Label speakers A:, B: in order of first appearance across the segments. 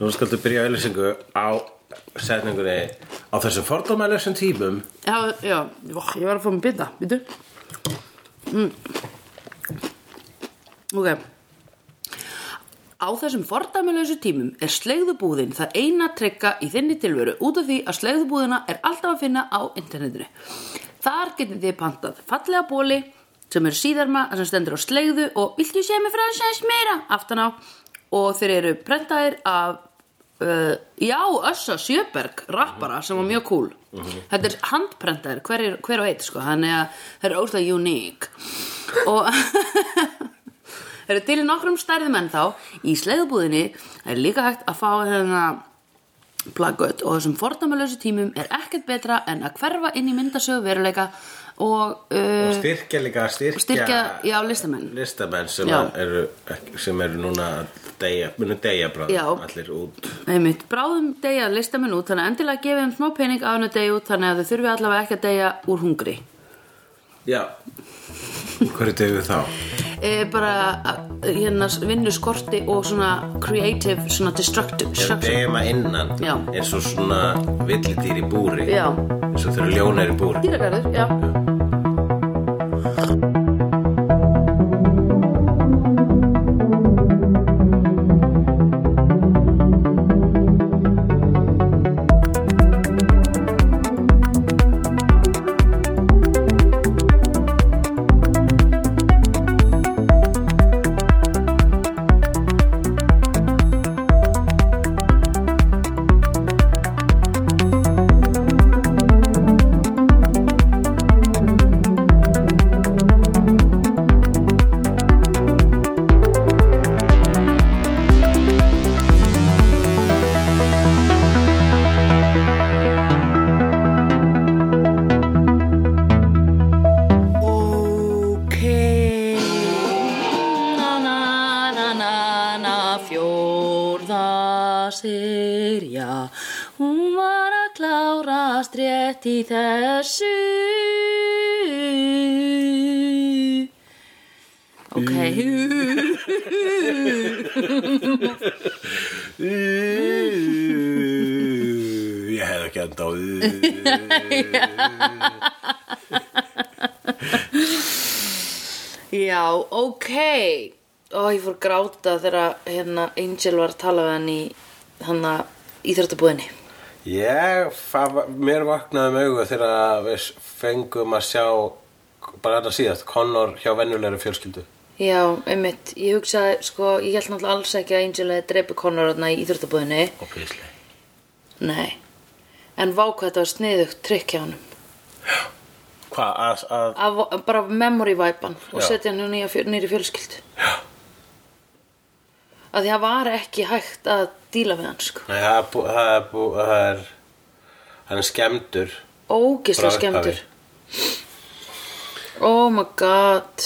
A: Nú skaltu byrja auðlýsingu á setningunni á þessum fordómælisum tímum
B: Já, já, Ó, ég var að fá mig bita, býtu mm. Ok Á þessum fordæmulausu tímum er slegðubúðin það eina trygga í þinni tilveru út af því að slegðubúðina er alltaf að finna á internetinu. Þar getið þið pantað fallega bóli sem eru síðarma sem stendur á slegðu og viltu sé mig fransæns meira aftan á og þeir eru prentaðir af uh, já, Össa Sjöberg rappara sem var mjög cool. Þetta er handprentaðir, hver, er, hver og eitt sko, þannig að það er óslega uník og Það eru til í nokkrum stærðum en þá í sleiðubúðinni er líka hægt að fá þennan plaggött og þessum fordæmalösu tímum er ekkert betra en að hverfa inn í myndasögu veruleika og
A: og
B: uh,
A: styrkja líka styrkja,
B: Styrkja, já, listamenn.
A: listamenn sem
B: Já.
A: eru, ekki- sem eru núna að deyja, munu deyja
B: Já.
A: bráðum allir út
B: einmitt bráðum degja listamenn út þannig að endilega gefa þeim smá pening á hennu degi út þannig að þau þurfi allavega ekki að degja úr hungri.
A: já, hverju deyju þá?
B: E, bara að- hérna vinnu skorti og svona creative, svona destructive.
A: Ef við
B: destruction.
A: deyjum að innan
B: Já.
A: eins og svona villidýr í búri
B: Já.
A: eins og þeir eru ljónar í búri
B: Dýragarður, já. Ok Na na na na na Fjórða sirja Hún var að klárast rétt í þessu Ok
A: ég hefði ekki enda á
B: Já, ok Ó, ég fór að gráta þegar hérna Angel var að tala við hann í hann að íþróttabúðinni
A: Ég, fa- mér vaknaði um augu þegar við fengum að sjá bara þetta síðast, Connor hjá venjulegri fjölskyldu.
B: Já, einmitt, ég hugsaði, sko, ég held náttúrulega alls ekki að Angel hefði dreipið Conor þarna í íþróttabúðinni
A: Óbíslega.
B: Nei, en vákvæð þetta var sniðugt trikk hjá honum
A: Hvað, að, að,
B: að vo- bara memory vipan og
A: Já.
B: setja hann nýja fjö, nýri fjölskyld Já að því það var ekki hægt að díla við hann sko,
A: nei, það er, bú, það er, bú, það er, hann er skemmtur. Frá
B: ógislega
A: upphafi.
B: skemmtur oh my god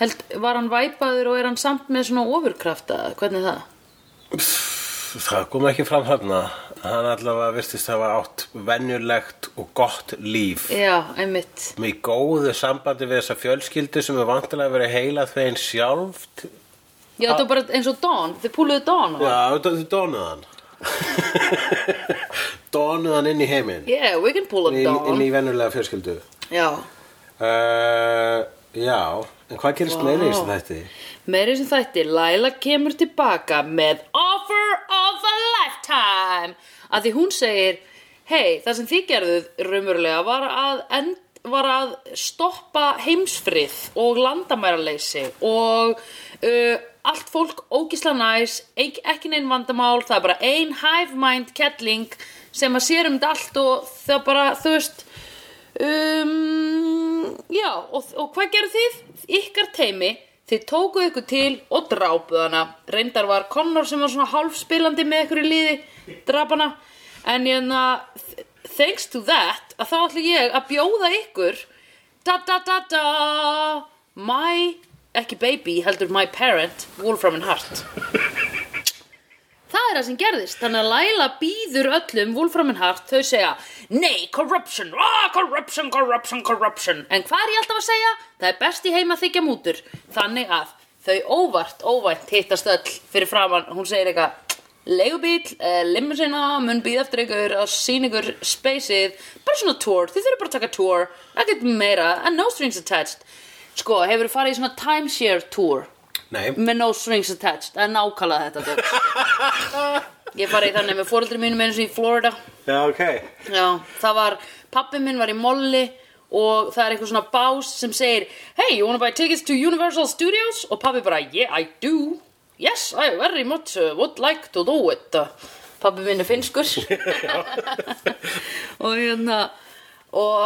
B: held, var hann væpaður og er hann samt með svona ofurkrafta, hvernig það?
A: Það kom ekki fram þarna. Hann allavega virtist hafa átt venjulegt og gott líf.
B: Já, einmitt
A: Með góðu sambandi við þessa fjölskyldu sem er vantilega verið heila þeim sjálft.
B: Já, þetta var bara eins og Dawn, þið púluðu Dawn á hann.
A: Já, þú þú donuð hann. donuð hann inn í heiminn.
B: Yeah, we can pull a
A: inn, inn
B: Dawn
A: í vennulega fjölskyldu
B: Já,
A: uh, Já, en hvað gerist meira í þessu þætti?
B: meiri sem þætti Laila kemur tilbaka með Offer of a Lifetime að því hún segir Hei, það sem þið gerðuð raumurlega var að, end, var að stoppa heimsfrið og landamæraleysi og uh, allt fólk ógisla næs, ek, ekki neinn vandamál, það er bara ein hive mind kettling sem að sér um þetta allt og það bara, þú veist, Um, já, og, og hvað gerðu þið? Ykkar teimi, þið tókuð ykkur til og drápuð hana. Reyndar var Connor sem var svona hálfspilandi með ykkur í liði, drap hana. En hérna, th- thanks to that, að þá ætla ég að bjóða ykkur, da da da da, my, ekki baby, heldur my parent, Wolfram and Heart. Það er það sem gerðist, þannig að Laila býður öllum Wolfram and Hart, þau segja Nei, corruption, ah, corruption, corruption, corruption En hvað er ég alltaf að segja? Það er best í heima að þykja mútur Þannig að þau óvart, óvænt hittast öll fyrir framann, hún segir eitthvað leigubíl, eh, limmusina mun býð eftir ykkur að sýn ykkur speysið, bara svona tour, þið þurfum bara að taka tour ekkert meira, and no strings attached sko, hefur farið í svona timeshare tour
A: Nei,
B: með no strings attached, það er nákvæmlega þetta dót, sko. ég farið í þannig með fóreldri mínum eins og í Florida
A: já, ok
B: Já, það var, pappi minn var í molli og það er eitthvað svona bás sem segir Hey, you wanna buy tickets to Universal Studios? Og pappi bara, yeah, I do Yes, I very much uh, would like to do it Pappi minn er finskur Og hérna Og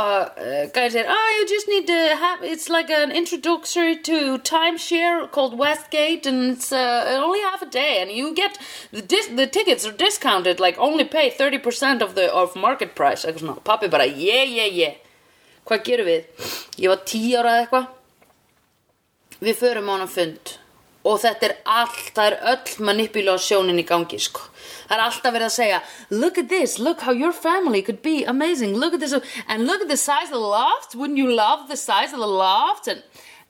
B: uh, gæði segir Ah, you just need to have It's like an introductory to timeshare called Westgate And it's uh, only half a day And you get The, dis the tickets are discounted Like only pay 30% of the of market price Eitthvað svona Pappi bara Yeah, yeah, yeah Hvað gerum við? Ég var 10 ára eða eitthvað við förum á hann fund og þetta er allt, það er öll manipulásjónin í gangi sko. það er alltaf verið að segja look at this, look how your family could be amazing look at this, and look at the size of the loft wouldn't you love the size of the loft and,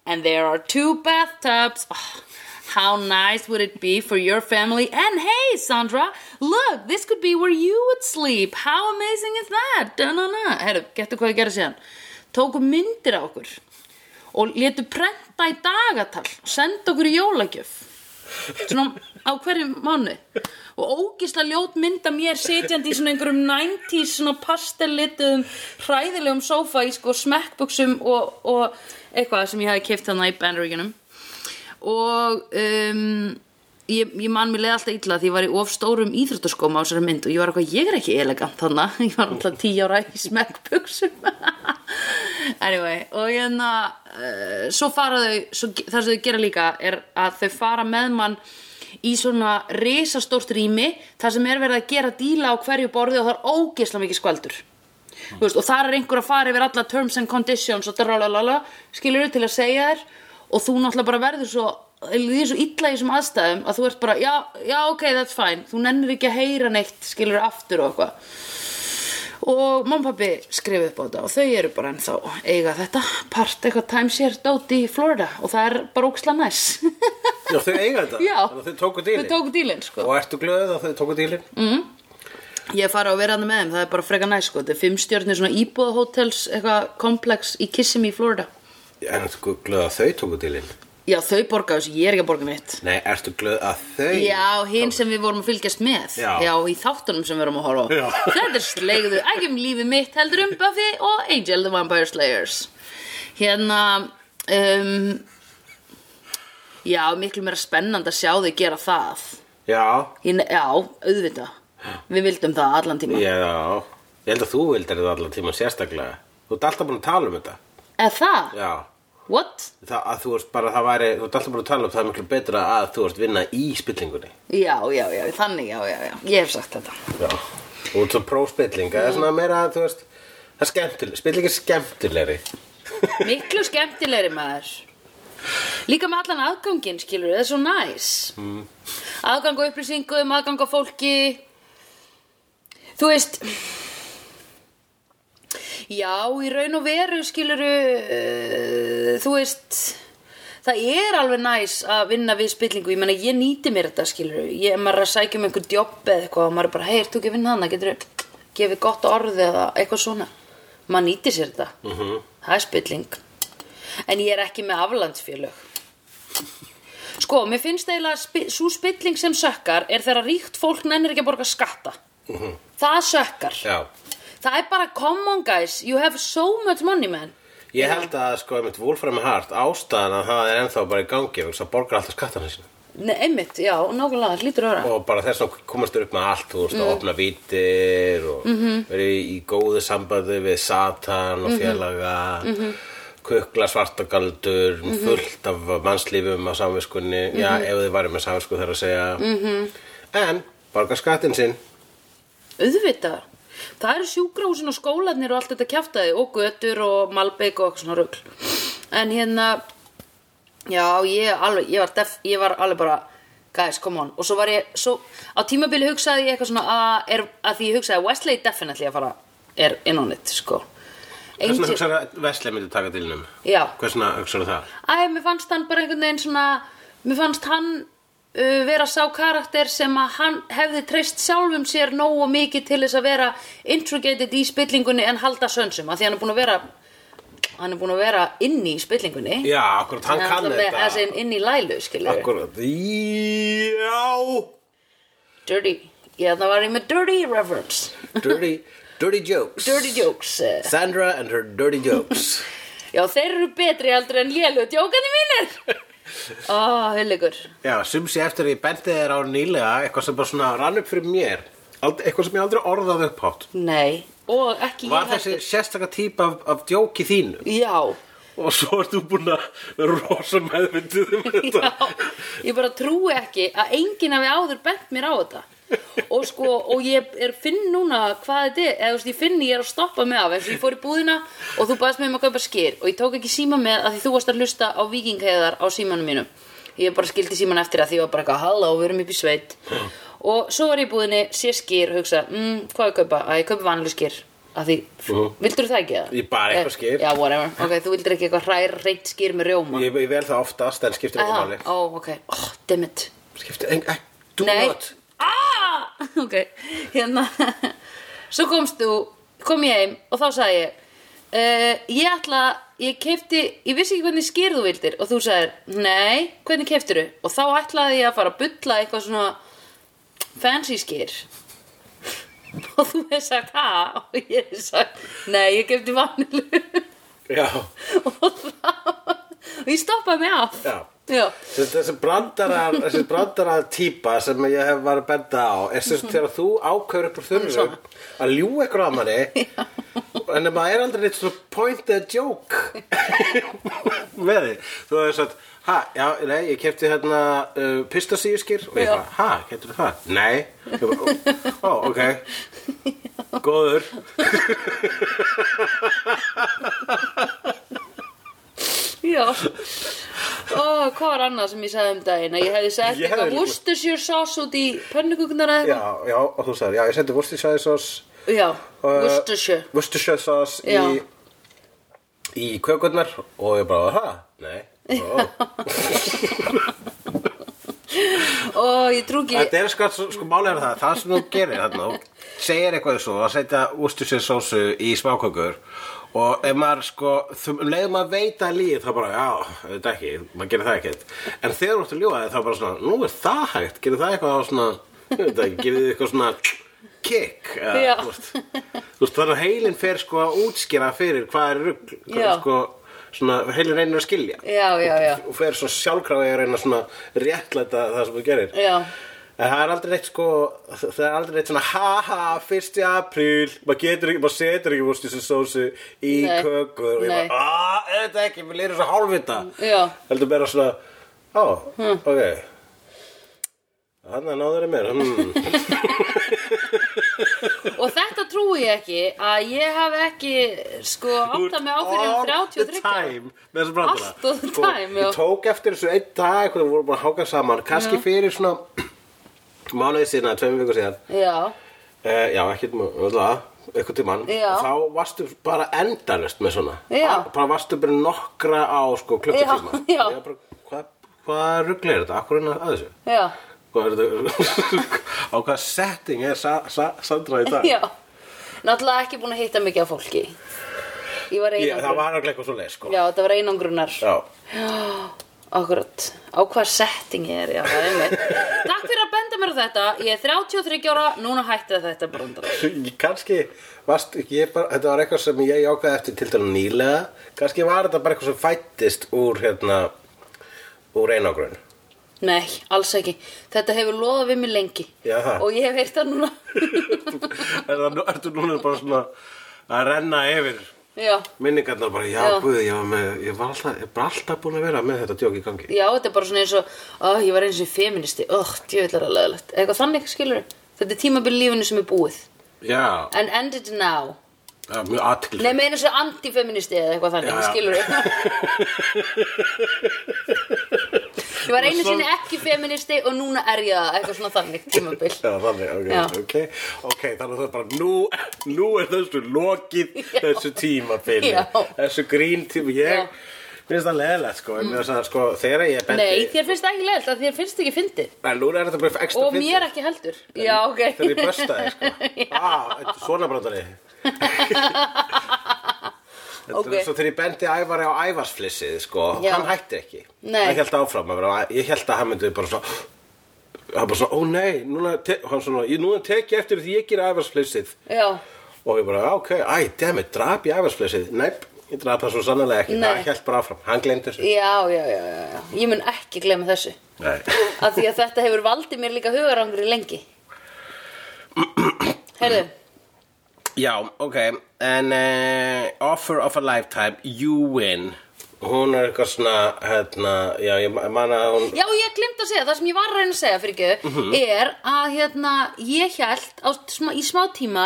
B: and there are two bathtubs oh, how nice would it be for your family and hey Sandra, look this could be where you would sleep how amazing is that da, na, na. Heru, getur hvað ég gera síðan tóku myndir á okkur og letu prenta í dagatal og senda okkur í jólagjöf svona á hverjum mánu og ógisla ljót mynda mér sitjandi í svona einhverjum 90s svona pastellituðum hræðilegum sófa í sko smekkbuksum og, og eitthvað sem ég hafi keift þarna í bandaríkunum og um, ég, ég man mér leið alltaf illa því ég var í of stórum íþróttaskóm á þessari mynd og ég var eitthvað, ég er ekki elegant þannig ég var alltaf tí ára í smekkbuksum anyway og hérna uh, svo fara þau, svo, ge- það sem þau gera líka er að þau fara með mann í svona risastórt rými þar sem er verið að gera díla á hverju borði og það er ógeðslega mikið skvaldur Þú veist, og þar er einhver að fara yfir alla terms and conditions og dralala, skilur til að segja þér og þú náttúrulega bara verður svo því er svo illa í þessum aðstæðum að þú ert bara, já, já, ok, that's fine þú nennir ekki að heyra neitt, skilur aftur og eitthvað og mamma og pappi skrifa upp á þetta og þau eru bara ennþá eiga þetta part eitthvað timeshare dót í Florida og það er bara óksla næs
A: Já, þau eiga þetta
B: Já.
A: Þannig að Þau tóku
B: við
A: dýlin
B: tókum dílinn sko
A: Og ertu glöð að þau tóku dýlin? Mm.
B: Ég fara að vera hann með þeim, það er bara freka næs sko þetta er fimm stjörnir svona íbúðahótels eitthvað komplex í Kissimmee, Florida
A: Ertu glöð að þau tóku dýlin?
B: Já, þau borga þessu, ég er ekki að borga mitt
A: Nei, ertu glöð að þau
B: Já, hinn sem við vorum að fylgjast með
A: Já.
B: í þáttunum sem við vorum að horfa
A: Já.
B: á Þetta er slegðu, ekki um lífi mitt heldur um Buffy og Angel the Vampire Slayers Hérna um, Já, miklu meira spennandi að sjá þau gera það
A: Já,
B: Hinn, Já, auðvitað Við vildum það allan tíma
A: Já, ég held að þú vildir þetta allan tíma sérstaklega. Þú ert alltaf búin að tala um þetta.
B: Eða það?
A: Já,
B: What?
A: það, að þú ert bara, það væri, þú ert alltaf búin að tala um það er miklu betra að þú ert vinna í spillingunni.
B: Já, já, já, þannig, já, já, já Ég hef sagt þetta
A: Já, þú ert svo próspilling, það er svona meira, þú veist, það er skemmtileg, spilling er skemmtilegri.
B: Miklu skemmtilegri maður Líka með allan aðganginn skilur Það er svo næs Aðgang á upplýsingum, aðgang á fólki Þú veist Já, í raun og veru skilur uh, Þú veist Það er alveg næs að vinna við spillingu Ég meina, ég nýti mér þetta skilur Ég maður er að sækja um einhver djobb eða eitthvað og maður er bara, hei, ert þú ekki að vinna hana getur gefið gott orð eða eitthvað svona maður nýti sér þetta -hmm. það er spilling en ég er ekki með aflandsfélög Sko, mér finnst eiginlega spi svo spilling sem sökkar er þegar ríkt fólk nennir ekki að borga skatta -hmm. það sökkar
A: Já,
B: það er bara, come on guys you have so much money man
A: ég held að, sko, einmitt Wolfram Hart, ástæðan að það er ennþá bara í gangi, þú veist, það borgar alltaf skattana sína.
B: Nei, einmitt, já, nákvæmlega, hlýtur öra
A: Og bara þess að komast þér upp með allt, þú veist, að opna vítir og verið í góðu sambandi við Satan og félaga, kukla svartagaldur, fullt af mannslífum á samviskunni, já, ef þið væri með samvisku þar að segja. En, borga skattinn sinn,
B: auðvitað það eru sjúkrahúsin og skólanir og allt þetta kjaftaði og götur og malbeik og eitthvað svona rugl en hérna já ég, alveg, ég, var, def, ég var alveg bara guys come on og svo var ég svo, á tímabili hugsaði ég eitthvað svona að, er, að því ég hugsaði Wesley er definitely að fara er inn á nýtt sko
A: hvers vegna
B: Angel-
A: hugsaðu að Vesli myndi taka til hennum?
B: Já.
A: Hvers vegna hugsaðu það?
B: Æ, mér fannst hann bara einhvern veginn svona mér fannst hann uh, vera sá karakter sem að hann hefði treyst sjálfum sér nógu mikið til þess að vera intrigated í spillingunni en halda sönsum af því hann er búin að vera hann er búin að vera inni í spillingunni
A: Já, akkurat, hann kann þetta
B: þessi inn í lælu skilur
A: Akkurat, já
B: dirty, já það var ég með dirty reference
A: Dirty, dirty jokes
B: dirty jokes eh.
A: Sandra and her dirty jokes
B: já þeir eru betri aldrei en lélu djókandi mínir ó, heiligur
A: Já, sum sé eftir að ég bendi þér á nýlega eitthvað sem bara svona rann upp fyrir mér Ald, eitthvað sem ég aldrei orðaði upp hátt
B: nei, og ekki ég
A: Var þessi
B: heldur.
A: sérstaka típa af, af djóki þínu
B: já,
A: og svo ert þú búin að vera rosa meðvindið um þetta
B: Já, ég bara trúi ekki að enginn hafi áður bent mér á þetta og sko, og ég er finn núna hvað þetta er, eða þú veist, ég finn ég er að stoppa mig af eins og ég fór í búðina og þú baðst mig um að kaupa skyr og ég tók ekki síma með að því þú varst að hlusta á vikingheðar á símanum mínum ég bara skildi síman eftir að því ég var bara eitthvað halló, við erum upp í sveit og svo var ég í búðinni, sé skyr, hugsa mm, hvað ég kaupa, að ég kaupa vanlu skyr að því,
A: Mhm.
B: vildur það ekki það?
A: Ég bara eitthvað skyr.
B: Já, whatever, ok, þú vildir ekki eitthvað hrær, reynt skyr með rjóma
A: Ég, ég vel það oftast en skiptir ekki
B: Aha,
A: máli
B: Ó, ok, oh, damn it
A: Skiptir, en, en, do
B: Nei.
A: not
B: ah! Ok, hérna Svo komst þú, kom ég heim og þá sagði ég uh, Ég ætla, ég keipti, ég vissi ekki hvernig skýr þú vildir Og þú sagðir, nei, hvernig keiptir þú? Og þá ætlaði ég að fara að bulla eitthvað svona fancy skýr Og þú hefði sagt, ha? Og ég hefði sagt, nei, ég keipti vanilu
A: Já,
B: Og þá, og ég stoppaði mig af
A: já
B: Já.
A: Þessi, þessi brandara, þessi brandara típa sem ég hef var að benda á er þess að þegar þú ákveður upp úr þurru að ljú ekkur að manni en ef maður er aldrei neitt svona pointed joke með því þú hefur sagt ha, já, nei, ég kefti hérna uh, pistasíuskir og ég
B: Já.
A: bara, ha, keftur það? Nei Ég bara, ó, ó, Oh, ok góður
B: Já Ó, hvað var annað sem ég sagði um daginn að ég hefði
A: Ég
B: sett
A: hefði
B: eitthvað
A: líka-
B: Worcestershire sauce út í pönnugugnara
A: já,
B: eitthvað
A: já, og þú sagði, já, ég sendi vorstinsæðisós
B: Já,
A: Uh,
B: Worcestershire
A: Worcestershire sauce
B: Já.
A: í, í kökurnar og ég bara, ha, nei Ó.
B: Ó, Oh, ég trú ekki
A: þetta er sko, sko málega það það sem þú gerir þarna þú segir eitthvað svo að setja Worcestershire sósu í smákökur og ef maður sko þú- um leiðum maður veita líð þá bara, já, þetta ekki, maður gerir það ekkert en þegar þú ert að ljúga þig þá bara svona nú er það hægt, gerir það eitthvað á svona ég veit ekki, gerir þið eitthvað svona kick eða,
B: Já.
A: þú veist. Þú veist, þannig að heilin fer sko að útskýra fyrir hvað er rugl hvað
B: Já.
A: er sko, svona, heilin reynir að skilja
B: Já, já, já
A: og fer svo sjálfkrafið að reyna svona réttlæta það sem þú gerir
B: Já.
A: en það er aldrei neitt sko það er aldrei neitt svona ha ha, 1. apríl maður getur ekki, maður setur ekki vorst þessu sósu í
B: Nei.
A: kökur og ég
B: Nei.
A: bara, aaa, þetta ekki, mér lýður svo hálfvita
B: Já. Hm.
A: heldur bara svona á, ok þannig að náður er mér hmm.
B: Og þetta trúi ég ekki að ég hafi ekki sko átta mig á fyrir um
A: All the
B: 33 ára.
A: time með þessu brandara Sko,
B: Allt of the time, já.
A: ég tók eftir þessu einn dag hvernig við vorum bara að háka saman kannski fyrir svona mánuði síðan, tveimur vikur síðan
B: Já,
A: Uh, já, ekkert mjög, eitthvað tímann
B: Já.
A: þá varstu bara endalust með svona
B: Já.
A: bara varstu bara nokkra á sko klukkutíma
B: Já, já.
A: Ég bara, hvað, hvað rugli er þetta, akkur er að þessu
B: já,
A: hvað er þetta á hvað setting er sa, sa, Sandra í dag
B: já Náttúrulega ekki búin að hitta mikið af fólki Ég var
A: Ég, það
B: einangrun
A: var örugglega eitthvað svo leið sko
B: Já, þetta var einangrunar
A: Já.
B: Akkurat, á hvað setting ég er, já, það er mér. Takk fyrir að benda mér á þetta, ég er 33 ára, núna hætti þetta brandar.
A: Ég- kannski varst, ég bara, þetta var eitthvað sem ég ákvaði eftir til dæla nýlega kannski var þetta bara eitthvað sem fættist úr hérna úr einangrun
B: Nei, alls ekki. Þetta hefur loðað við mig lengi.
A: Já, það.
B: Og ég hef heyrt það núna.
A: er það, nú- ertu núna bara svona að renna yfir
B: já,
A: minningarnar bara, já,
B: Já.
A: guð, ég var með ég var alltaf, ég var alltaf búin að vera með þetta djók í gangi
B: já, þetta er bara svona eins og, ó, ég var eins og feministi, ó, djöðlar að leðalegt. Eitthvað þannig, skilur Þetta er tímabil í lífinu sem er búið.
A: já,
B: And end it now.
A: já mjög aðtil
B: Nei, meina eins og antifeministi eða eitthvað þannig,
A: Já,
B: já,
A: já.
B: skilur Ég var einu sinni ekki feministi og núna er ég það, eitthvað svona þannig tímabil.
A: já, þannig, ok,
B: Já.
A: ok ok, þannig að það er bara, nú, nú er þessu lokið
B: Já.
A: þessu tímabili
B: Já.
A: þessu grín tíma, ég
B: Já.
A: Mér finnst það leðilegt sko, en mér finnst það sko, þegar ég bendi
B: Nei, þér finnst það ekki leiðilt að þér finnst ekki fyndið
A: En núna er þetta bara ekstra
B: Og mér ekki heldur Já, ok
A: Þegar ég bösta þig sko ah, þetta er Svona brandari Þetta
B: Ok.
A: er svo þegar ég bendi ævari á ævarsflissið sko
B: Já.
A: Hann hætti ekki
B: Nei.
A: Hann held áfram að vera Ég held að hann myndi bara svo Hann bara svona, ó nei, núna, te- hann svona, "Ég- núna tek ég eftir því ég gera æfarsflissið
B: Já,
A: og ég bara, ok, æ, dammit, drap ég æfarsflissið Neip, ég drap það svo sannlega ekki
B: Nei.
A: Það held bara áfram, hann glemdi þessu
B: já, já, já, já, já. Ég mun ekki glemma þessu
A: Nei
B: Af því að þetta hefur valdið mér líka hugarangri lengi Herðu
A: Já, ok En uh, Offer of a Lifetime You Win Hún er eitthvað svona hérna, Já, ég man að hún
B: Já, ég glemt að segja, það sem ég var að reyna að segja fyrir ekki
A: Mhm.
B: er að hérna, ég held á, smá, í smá tíma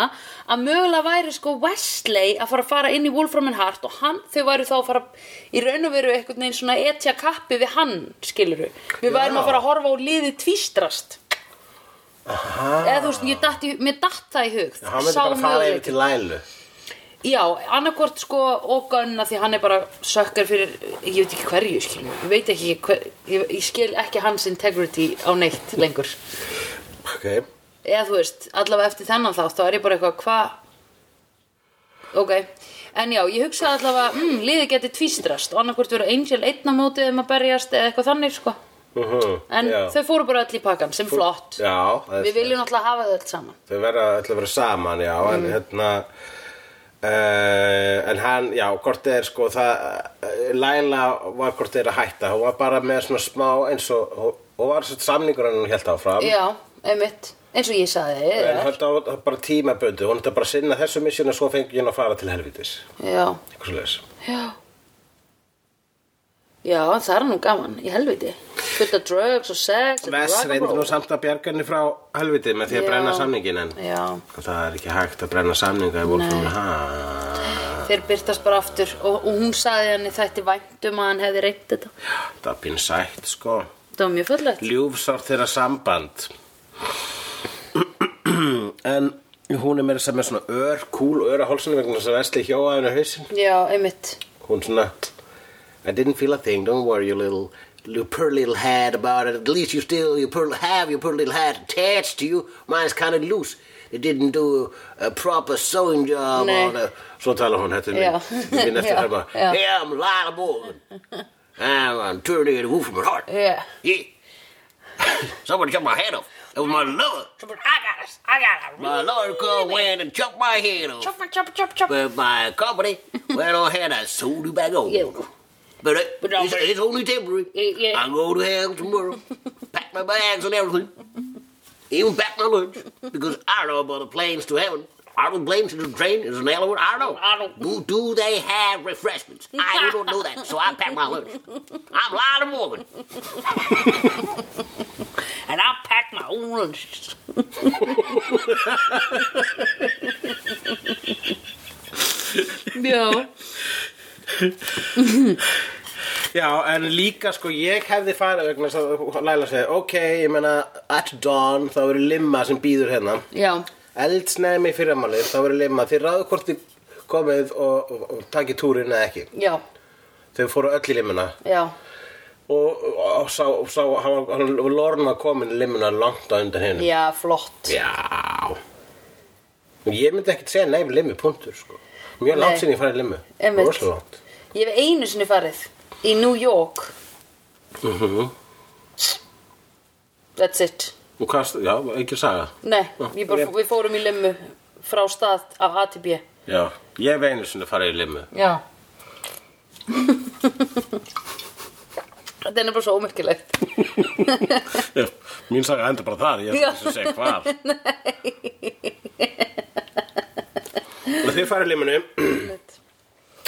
B: að mögulega væri sko Wesley að fara að fara inn í Wolfram and Hart og hann, þau væru þá að fara í raun og veru einhvern veginn svona etja kappi við hann, skiluru við
A: Já.
B: værum að fara að horfa á liðið tvístrast Aha. eða þú veist, ég datt í, mér datt það í hug
A: Hann myndi bara fara yfir til Lælu
B: Já, annarkvort sko og Gunn að því hann er bara sökkar fyrir, ég veit ekki hverju, skilur, ég veit ekki hver, ég, ég skil ekki hans integrity á neitt lengur.
A: Ok
B: Eða þú veist, allavega eftir þennan þátt, þá er ég bara eitthvað, hva? Ok, en já, ég hugsaði allavega, mm, liðið geti tvístrast og annarkvort verið Angel einn á mótið um að berjast eða eitthvað þannig, sko.
A: uh -huh.
B: En
A: já.
B: þau fóru bara öll í pakkan, sem flott.
A: Já, það er
B: Við viljum alltaf hafa þau öll saman.
A: Þau verða ætla að vera saman, já,
B: Mm.
A: en hérna Uh, en hann, já, hvort þið er sko það, uh, Laila var hvort þið er að hætta hún var bara með svona smá eins og, hún, hún var svona samningur hann held áfram
B: Já, einmitt, eins og ég sagði,
A: en
B: eða,
A: held á það bara tímaböndu hún ætla bara að sinna þessu missjón og svo fengi hún að fara til helvitis
B: já.
A: eitthvað svo
B: Já Já, það er nú gaman, í helviti Fullt af drugs og sex og
A: Vess
B: rock and
A: reyndir
B: roll.
A: nú samt að bjarga henni frá helviti með því að
B: Já.
A: brenna samningin en
B: Já,
A: það er ekki hægt að brenna samninga í Wolfram ha.
B: þeir byrtast bara aftur og, og hún sagði henni þætti væntum að hann hefði reynt þetta
A: Það er pinn sætt sko
B: Það var mjög fullegt
A: Ljúfsárt þeirra samband En hún er meira sem með svona ör, kúl ör á hálsinu vegna þess að Vesli hjóa henni hausinn
B: Já, einmitt
A: Hún svona I didn't feel a thing, don't worry you little you poor little head about it at least you still you poor, have your poor little head attached to you mine's kind of loose they didn't do a proper sewing job
B: Nei.
A: on a... Svo talar hún, þetta er
B: Já.
A: minn, minn eftir
B: Já,
A: herma
B: já.
A: Hey, I'm Lila Morgan I'm, I'm turning it woo from my heart
B: Yeah.
A: yeah. Somebody chopped my head off It was my lover My lover come in and chopped my head off
B: Choppa, choppa, choppa, choppa
A: But my company went ahead and sold it back on
B: Yeah.
A: But, it,
B: But
A: it's,
B: don't-
A: it's only temporary.
B: Yeah, yeah.
A: I'm going to hell tomorrow. pack my bags and everything. Even pack my lunch. Because I don't know about the planes to heaven. I don't blame to the train. It's an elevator. I don't know.
B: I don't-
A: Do, do they have refreshments? I don't know that. So I pack my lunch. I'm Lionel Morgan.
B: And I packed my own lunch Já
A: Já, en líka sko ég hefði farið vegna þess að Laila segi ok, ég meina at dawn þá verður limma sem býður hérna
B: Já,
A: eldsnæmi fyrir amalið þá verður limma þið ráðu hvort þið komið og, og, og takið túrin eða ekki
B: já,
A: þau fóru öll í limmuna
B: já
A: og, og, og sá, og sá hann, var- hann, Lorna komin í limmuna langt á undan hennu
B: Já, flott
A: Já Ég myndi ekkert segja nei við limmi, punktur sko Mjög
B: Nei.
A: langt sinni ég farið í limmu
B: Einmitt.
A: Rosalega langt
B: Ég hef einu sinni farið í New York
A: Mhm.
B: That's it
A: Og hvað, já, ekki saga
B: Nei,
A: Já,
B: ég bara,
A: ég-
B: við fórum í limmu frá stað af A til B
A: Já, ég hef einu sinni farið í limmu
B: Já Þetta er bara svo ómerkilegt
A: Já, Mín saga enda bara þar, ég
B: Já.
A: þess að segja hvað Og þið farið liminu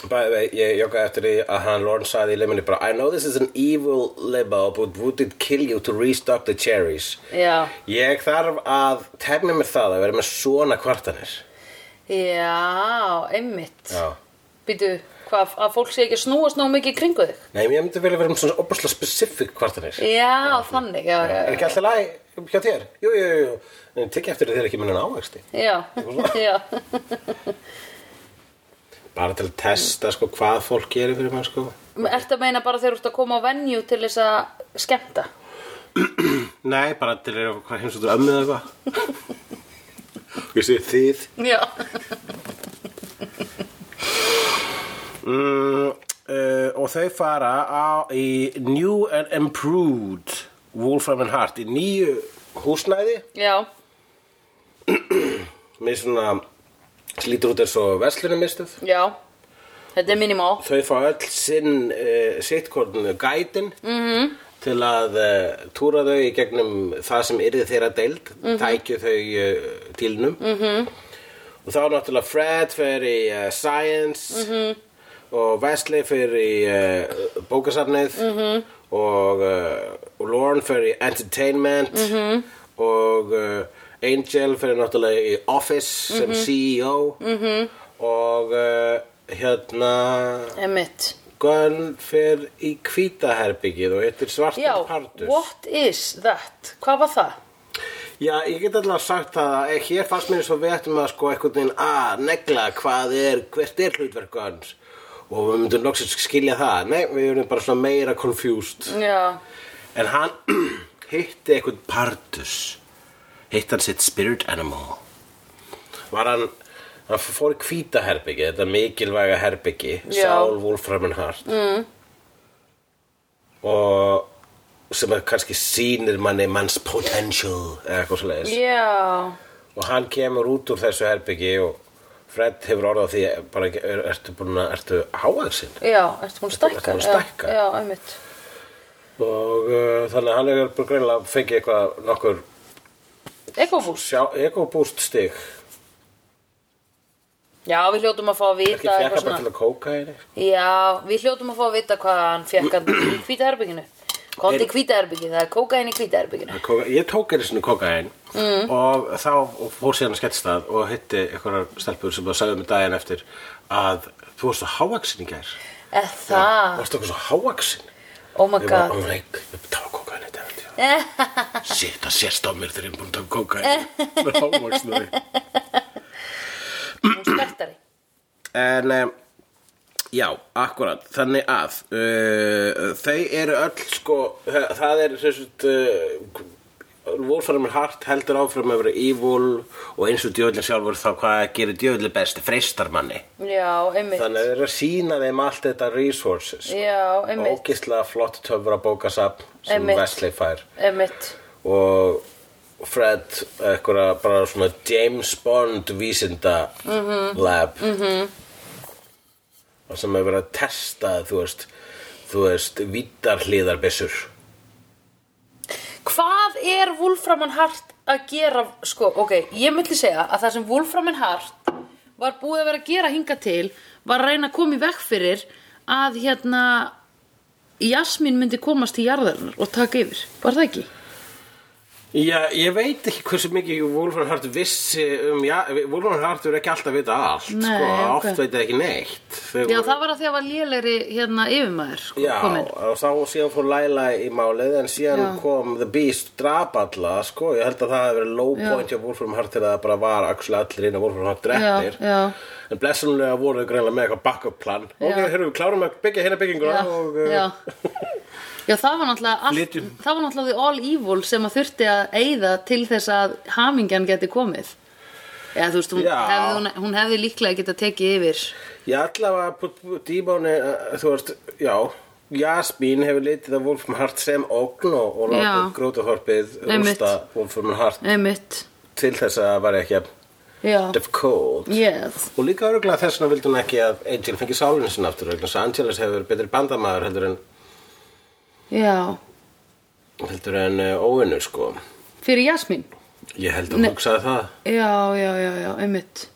A: Bæði vei, ég joggaði eftir því að hann Lorne sagði í liminu bara I know this is an evil limo but would it kill you to restock the cherries
B: Já,
A: Ég þarf að tefna mér það að vera með svona kvartanir
B: já, einmitt
A: Já
B: Býtu, hvað, að fólk sé ekki að snúast ná mikið í kringu þig
A: Nei, ég myndi velja vera með svona opaslega specific kvartanir
B: Já, þannig, já, já,
A: Er ekki alltaf læg hjá þér? Jú, jú, jú, jú En tekja eftir því þér ekki minna ávegsti
B: já Já, já.
C: bara til að testa sko, hvað fólk gerir fyrir mann sko.
B: Ertu að meina bara þegar þú ert að koma á venju til þess að skemmta?
C: Nei, bara til að hvað heimsóttur ömmið eða eitthvað Ég sé þið
B: Já.
C: mm, uh, Og þau fara á, í New and Improved Wolfram and Hart í nýju húsnæði
B: Já.
C: með svona slítur út eins og verslunum mistuð
B: Já. Þetta er minimal.
C: þau fá öll sinn uh, sittkornu gætin -hmm. til að uh, túra þau í gegnum það sem yrði þeirra deild mm tækju þau uh, tilnum -hmm. og þá náttúrulega Fred fer í uh, Science -hmm. og Wesley fer í uh, bókasafnið -hmm. og, uh, og Lauren fer í Entertainment -hmm. og uh, Angel fer náttúrulega í Office sem CEO -hmm. og uh, hérna
B: Emmitt.
C: Gunn fer í hvítaherbyggið og heitir
B: Já.
C: svartan partus.
B: What is that? Hvað var það?
C: Já, ég get allavega sagt það að eh, hér fannst mér eins og við ættum að sko einhvern veginn að negla hvað er, hvert er hlutverk Gunns og við myndum loksins skilja það. Nei, við erum bara svona meira confused.
B: Já.
C: En hann hitti einhvern partus, hitti hann sitt spirit animal. Var hann, hann fór í hvítaherbyggið, þetta mikilvæga herbyggi,
B: Já.
C: Sál Wolfram and Hart. Mm. Og sem að kannski sýnir manni manns potential eða eitthvað svo
B: Já.
C: og hann kemur út úr þessu herbyggi og Fred hefur orðað því bara, er, ertu búin að, ertu háaðsinn
B: Já. Ertu búin að stækka?
C: Ertu búin að
B: Já.
C: stækka?
B: Já, emmitt.
C: og uh, þannig að hann er bara greinlega fengið eitthvað nokkur
B: Ekofús.
C: sjá, ekobúst stig
B: Já, við hljótum að fá að
C: ekki
B: vita
C: fjaka bara til að kóka henni
B: Já, við hljótum að fá að vita hvað hann fekk hann í hvítaherbygginu. Kondi í
C: Er-
B: hvítaherbygginu, það er kókaðin í hvítaherbygginu.
C: Kóka, ég tók einu sinni kokain mm. og þá og fór síðan að skellstað og hitti einhverjar stelpur sem það sagði mig daginn eftir að þú varst svo hávaksin í gær
B: Eða það,
C: varst okkur svo hávaksin
B: Ah. oh my
C: ég
B: god.
C: var, oh my god, ég tók kokain í dag Shit, það sést á mér þegar ég er búin að taka kókain með hávaksnaði
B: Hún spertari.
C: En um, já, akkurat, þannig að uh, þau eru öll sko, þa- það er sérst, uh, Wolfram er hart heldur áfram að vera evil og eins og djöðlinn sjálfur þá hvað gerir djöðlinn best, freistar manni
B: Já, einmitt.
C: Þannig að þau eru að sína þeim allt þetta resources
B: Já,
C: og
B: einmitt,
C: ógislega flott töfra bókasafn sem
B: Einmitt.
C: Wesley fær
B: einmitt.
C: og Fred eitthvað bara svona James Bond vísinda lab -hmm. og sem hefur verið að testa þú veist, þú veist vittar hliðarbissur
B: Hvað er Wolfram and Hart að gera, sko, ok, ég myndi segja að það sem Wolfram and Hart var búið að vera að gera hinga til var að reyna að koma í vekk fyrir að hérna Jasmín myndi komast til jarðarinnar og taka yfir, var það ekki?
C: Já, ég veit ekki hversu mikið Wolfram Hart vissi um já, Wolfram Hart er ekki alltaf að vita allt
B: Nei,
C: sko,
B: ok.
C: oft veit það ekki neitt Þau
B: Já,
C: voru-
B: það var að því að var lélegri hérna yfirmaður sko,
C: Já,
B: kominn.
C: og þá síðan fór Laila í málið en síðan
B: Já.
C: kom The Beast drap alla, sko, ég held að það hefði verið low point hjá Wolfram Hart til að það bara var actually allir inn að Wolfram Hart drefnir
B: Já, já.
C: en blessunlega voru þau greinlega með eitthvað backup plan ok,
B: Já.
C: hérna við klárum að byggja hérna bygginguna
B: Já,
C: og
B: já.
C: uh,
B: já, það var náttúrulega allt,
C: Flytjum.
B: það var náttúrulega the all evil sem að þurfti að eyða til þess að hamingjan geti komið. Já, þú veist, hún,
C: Já.
B: hefði, hún, hún hefði líklega geta tekið yfir.
C: ég allavega dímáni, uh, þú veist, já Jasmín hefur litið að Wolfram Hart sem ógn og, og
B: Já.
C: látið grótaþorpið
B: Einmitt.
C: rústa Wolfram Hart
B: Einmitt.
C: til þess að það væri ekki að
B: Já.
C: def cold
B: Yes.
C: Og líka örgulega þess vegna vildi hún ekki að Angel fengi sálinu sinna aftur vegna þess að Angelus hefur verið betri bandamaður heldur en,
B: Já.
C: heldur en uh, óvinnur sko.
B: Fyrir Jasmín.
C: Ég held að hún hugsaði það.
B: Já, já, já, já, einmitt.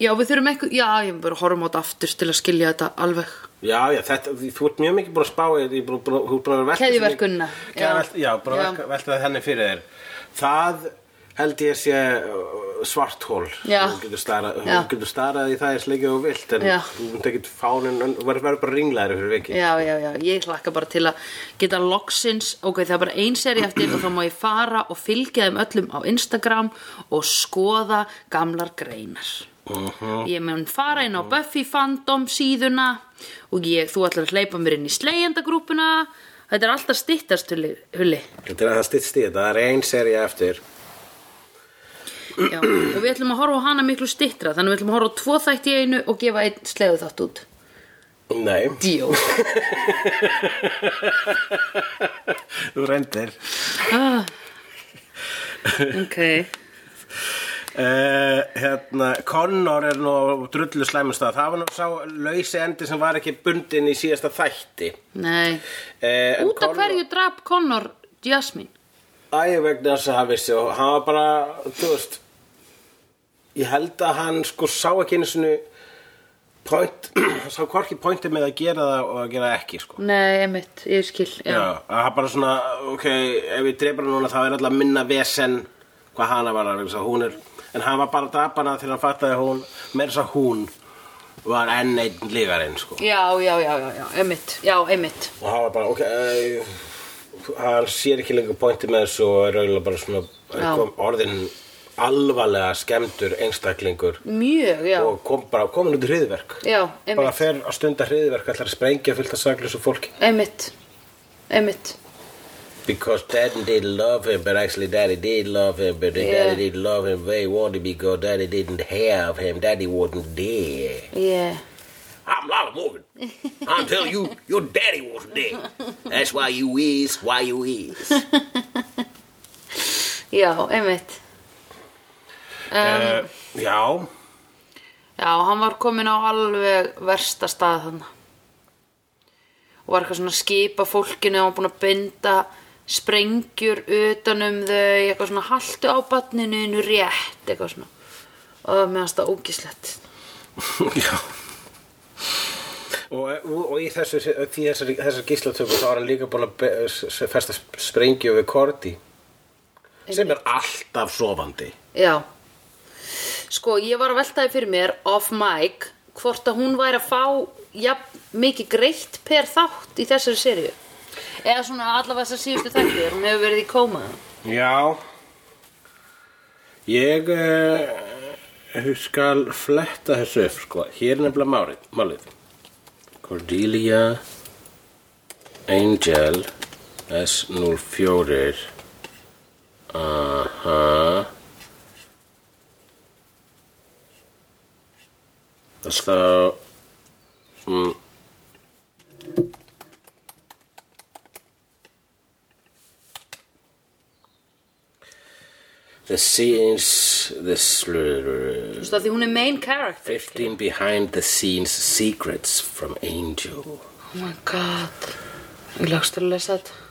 B: Já, við þurfum eitthvað, já, ég er bara að horfum á þetta aftur til að skilja þetta alveg.
C: Já, já, þetta, þú ert mjög mikið búin að spá í því, þú ert búin að þú ert búin að velta
B: Keðjuverkunina,
C: Já, já,
B: já.
C: velt, já bara
B: Já.
C: já. velta henni fyrir þér. Það held ég sé uh, svart hól.
B: Já.
C: Þú getur starað,
B: Já.
C: þú getur starað í það eins leikið og þú vilt, en
B: Já.
C: þú myndi ekki fánin, þú verður verður bara ringlaður fyrir vikið.
B: Já, já, já, ég hlakka bara til að geta loksins, ok, það er bara ein seri eftir og þá má ég fara og fylgja þeim öllum á Instagram og skoða gamlar greinar.
C: Mhm.
B: ég mun fara inn á Buffy fandom síðuna og ég, þú ætlar að hleypa mér inn í slegjendagrúpuna þetta er alltaf stittast hulli, hulli.
C: Þetta er að það stýttst í þetta, það er ein serið eftir.
B: Já, og við ætlum að horfa á hana miklu stittra þannig við ætlum að horfa á tvo þætt í einu og gefa einn slegðu þátt út
C: Nei,
B: Díó
C: þú reyndir.
B: ah. ok
C: Uh, hérna, Connor er nú á drullu slæmustað. Það var nú sá lausi endi sem var ekki bundin í síðasta þætti.
B: nei,
C: Uh,
B: út af hverju drap Connor Jasmine
C: Æ, vegna þess að hann vissi og hann var bara, þú veist ég held að hann sko sá ekki einu svona point, hann sá hvorki pointi með að gera það og að gera það ekki, sko
B: nei, emitt, ég skil
C: Já, að hann bara svona, ok, ef ég dreipar hann núna þá er alltaf minna vesen hvað hana var það, vegna þess að hún er en hann var bara að drapa hana þegar hann fattaði að hún meira þess að hún var enn einn lífarinn, sko
B: já, já, já, já, já emitt, já, emitt
C: og hann var bara, ok eh, hann sér ekki lengur pointi með þessu og er auðvitað bara svona
B: Já.
C: kom orðin alvarlega skemmtur einstaklingur
B: mjög, já,
C: og kom bara komin út í hriðverk
B: já,
C: bara
B: emitt
C: fer að stunda hriðverk ætlar að sprengja fullt af saklausu fólki
B: emitt, emitt
C: because daddy did love him but actually daddy did love him but
B: Yeah.
C: daddy did love him very wanted because daddy didn't have him daddy wasn't there
B: yeah,
C: I'm Lala Morgan I'm telling you your daddy wasn't there that's why you is why you is
B: já, emitt
C: uh, já
B: Já, hann var komin á alveg versta stað þannig og var eitthvað svona að skipa fólkinu og búin að binda sprengjur utanum þau eitthvað svona haltu á batninu innu rétt eitthvað svona og það meðast það ógislegt
C: Já Og, og, og í þessu, því þessar, þessar gíslatöku þá er hann líka búin að be- s- festa sprengju við Korti sem er alltaf sofandi
B: Já Sko, ég var að veltaði fyrir mér off mic hvort að hún væri að fá jafn mikið greitt per þátt í þessari serju eða svona allavega þessar síðustu þættir hún hefur verið í kómaða
C: Já Ég eh, skal fletta þessu upp sko. Hér er nefnilega málið, málið Cordelia Angel S04 Aha Þá mm, The scenes This
B: Þú veist að því hún er main character
C: 15 behind the scenes secrets from Angel
B: Oh my god Ég lagst að lesa þetta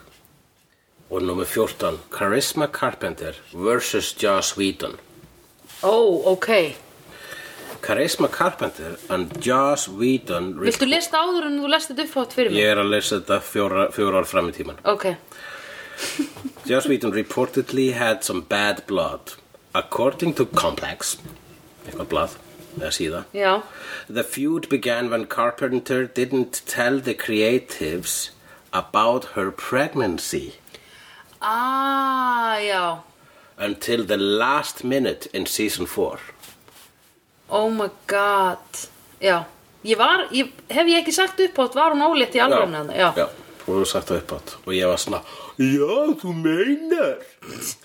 C: og nummer 14 Charisma Carpenter versus Joss Whedon
B: Ó, ok
C: Charisma Carpenter and Joss Whedon
B: Viltu lesa þetta áður en þú lest þetta upphátt fyrir mig?
C: Ég er að lesa þetta fjóra, fjóra ár fram í tíman
B: Ok
C: Joss Whedon reportedly had some bad blood According to Complex eitthvað blað, eða síða
B: Já
C: The feud began when Carpenter didn't tell the creatives about her pregnancy
B: Ah, já
C: until the last minute in season 4
B: Oh my god Já Ég var, ég, hef ég ekki sagt upphátt, var hún ólétt í alvegna þarna? Já.
C: já og þú sagt það uppátt og ég var svona já, þú meinar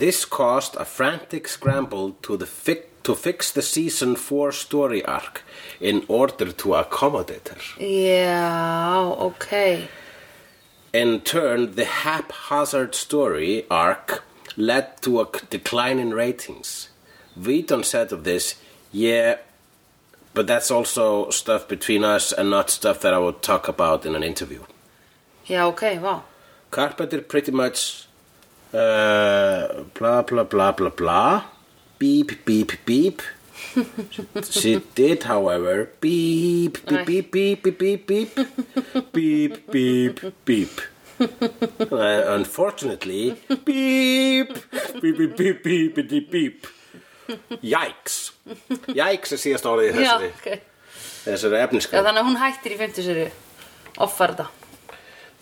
C: This caused a frantic scramble to, the fi to fix the season 4 story arc in order to accommodate her.
B: Já, ok
C: In turn, the haphazard story arc led to a decline in ratings. Whedon said of this, yeah, but that's also stuff between us and not stuff that I would talk about in an interview.
B: Já, ok, vá
C: Carpenter pretty much uh, blah blah blah blah blah beep beep beep she did however beep
B: Nei.
C: beep beep beep beep beep beep beep beep beep Uh, unfortunately beep beep beep beep beep beep beep yikes yikes er síðast orðið í
B: Já,
C: þessari,
B: ok Já,
C: þessari efniskar
B: þannig að hún hættir í 50 serju Offarda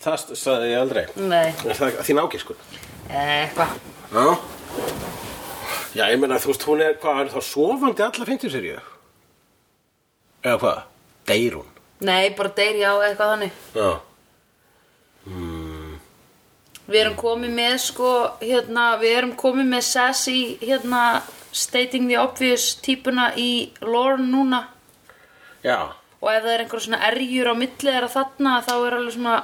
C: það sagði ég aldrei
B: Nei,
C: sko. Er það þín ágiskun
B: eitthvað
C: Já Já, ég meina, þú veist, hún er, hvað, er þá sofandi alla 50 serið? Eða hvað? Deyr hún?
B: Nei, bara deyr já eða eitthvað þannig
C: Já,
B: Við erum komið með sko hérna, við erum komið með sassy hérna, stating the obvious típuna í Lorne núna
C: já,
B: og ef það er einhver svona erjur á milli þeirra þarna þá er alveg svona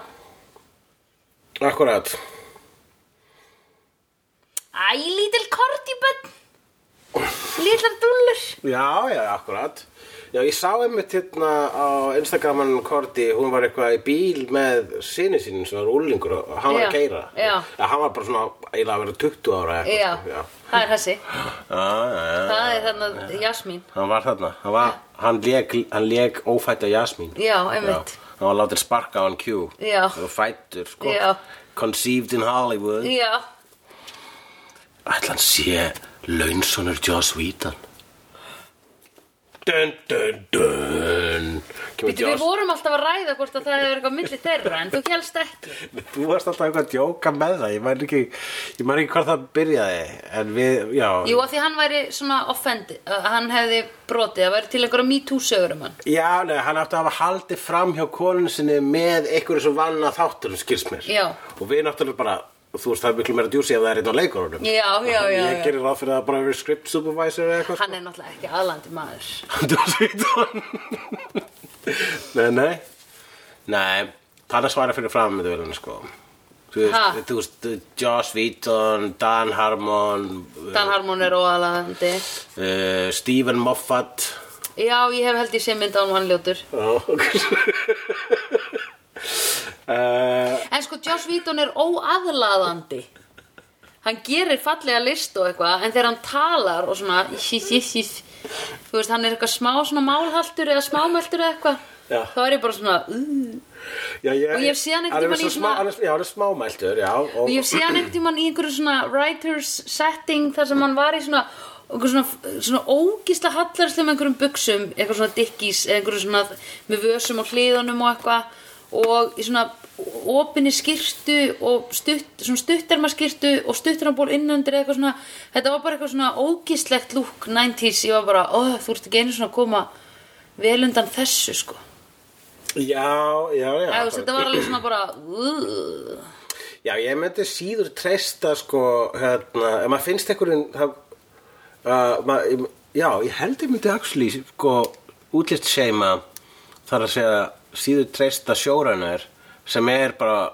C: akkurat
B: Æ, lítil kort í bönn Lítlar dúllur
C: Já, já, akkurat Já, ég sá einmitt hérna á Instagraman Korti, hún var eitthvað í bíl með sinni sínum sem var úlingur og hann var
B: Já,
C: að keira
B: já.
C: hann var bara svona, eiginlega að vera 20 ára eitthvað,
B: Já,
C: já,
B: það er þessi
C: já, já, já.
B: Það er þannig Jasmín
C: Hann var þarna, hann, var, hann, lék, hann lék ófætta Jasmín
B: Já, einmitt
C: Já, hann var látið sparka á hann Q
B: Já.
C: og fættur sko
B: Já.
C: conceived in Hollywood
B: Já,
C: ætla hann sé launsonur Joss Whedon dun dun dun Kemur
B: Býttu, við vorum alltaf að ræða hvort að það hefur eitthvað á milli þeirra en þú helst ekki
C: þú varst alltaf eitthvað að djóka með það ég man ekki, ég man ekki hvað það byrjaði en við, já
B: Jú, af því hann væri svona offended, uh, hann hefði brotið, það væri til einhverja MeToo sögur um hann.
C: Já, nei, hann átti að hafa haldið fram hjá konun sinni með einhverju sem vann að þátturum, skils mér.
B: Já.
C: Og við náttúrulega bara, þú veist, það er miklu meira djúsi ef það er eitt á leikurunum.
B: Já, já, já,
C: Ég
B: já.
C: gerir ráð fyrir að það bara verið script supervisor eða eitthvað.
B: Hann er náttúrulega ekki aðlandi maður.
C: Hann djúsi Svítan. nei, nei. Nei, hann er svara fyrir fram með velinu, sko. Þú
B: Ha?
C: veist, þú veist, Joss Whedon, Dan Harmon,
B: Dan Harmon er óaðlandi.
C: uh, Stephen Moffat.
B: Já, ég hef held ég sé mynd á hann hann ljótur.
C: Já, Uh,
B: En sko, Joss Whedon er óaðlaðandi. Hann gerir fallega list og eitthvað, en þegar hann talar og svona, hís, hís, hís, þú veist, hann er eitthvað smá svona málhaltur eða smámæltur eða eitthvað,
C: Já.
B: þá er ég bara svona, uh,
C: Já, ég,
B: Og ég hef séð hann einhvern
C: er
B: tímann í
C: svo smá-
B: svona-
C: hann er- Já, hann er smámæltur, já og,
B: og ég sé hann einhvern tímann í einhverju svona writers setting þar sem hann var í svona einhverju svona, svona ógísla hallarslu með einhverjum buksum, eitthvað svona dikkís eða einhverju svona með vösum og hliðunum og eitthvað og í svona opinni skirtu og stutt, svona stutterma skirtu og stuttermaból innundir eða eitthvað svona þetta var bara eitthvað svona ógíslegt lúk 90s, ég var bara, oh, þú ert ekki einu svona að koma vel undan þessu sko
C: Já, já, já
B: eða þú veist, þetta var alveg svona bara uh,
C: Já, ég myndi síður treysta sko, hérna, ef maður finnst einhverjum það, uh, mað, Já, ég held ég myndi axli sko, útlist seima þar að segja síður treysta sjóranar sem er bara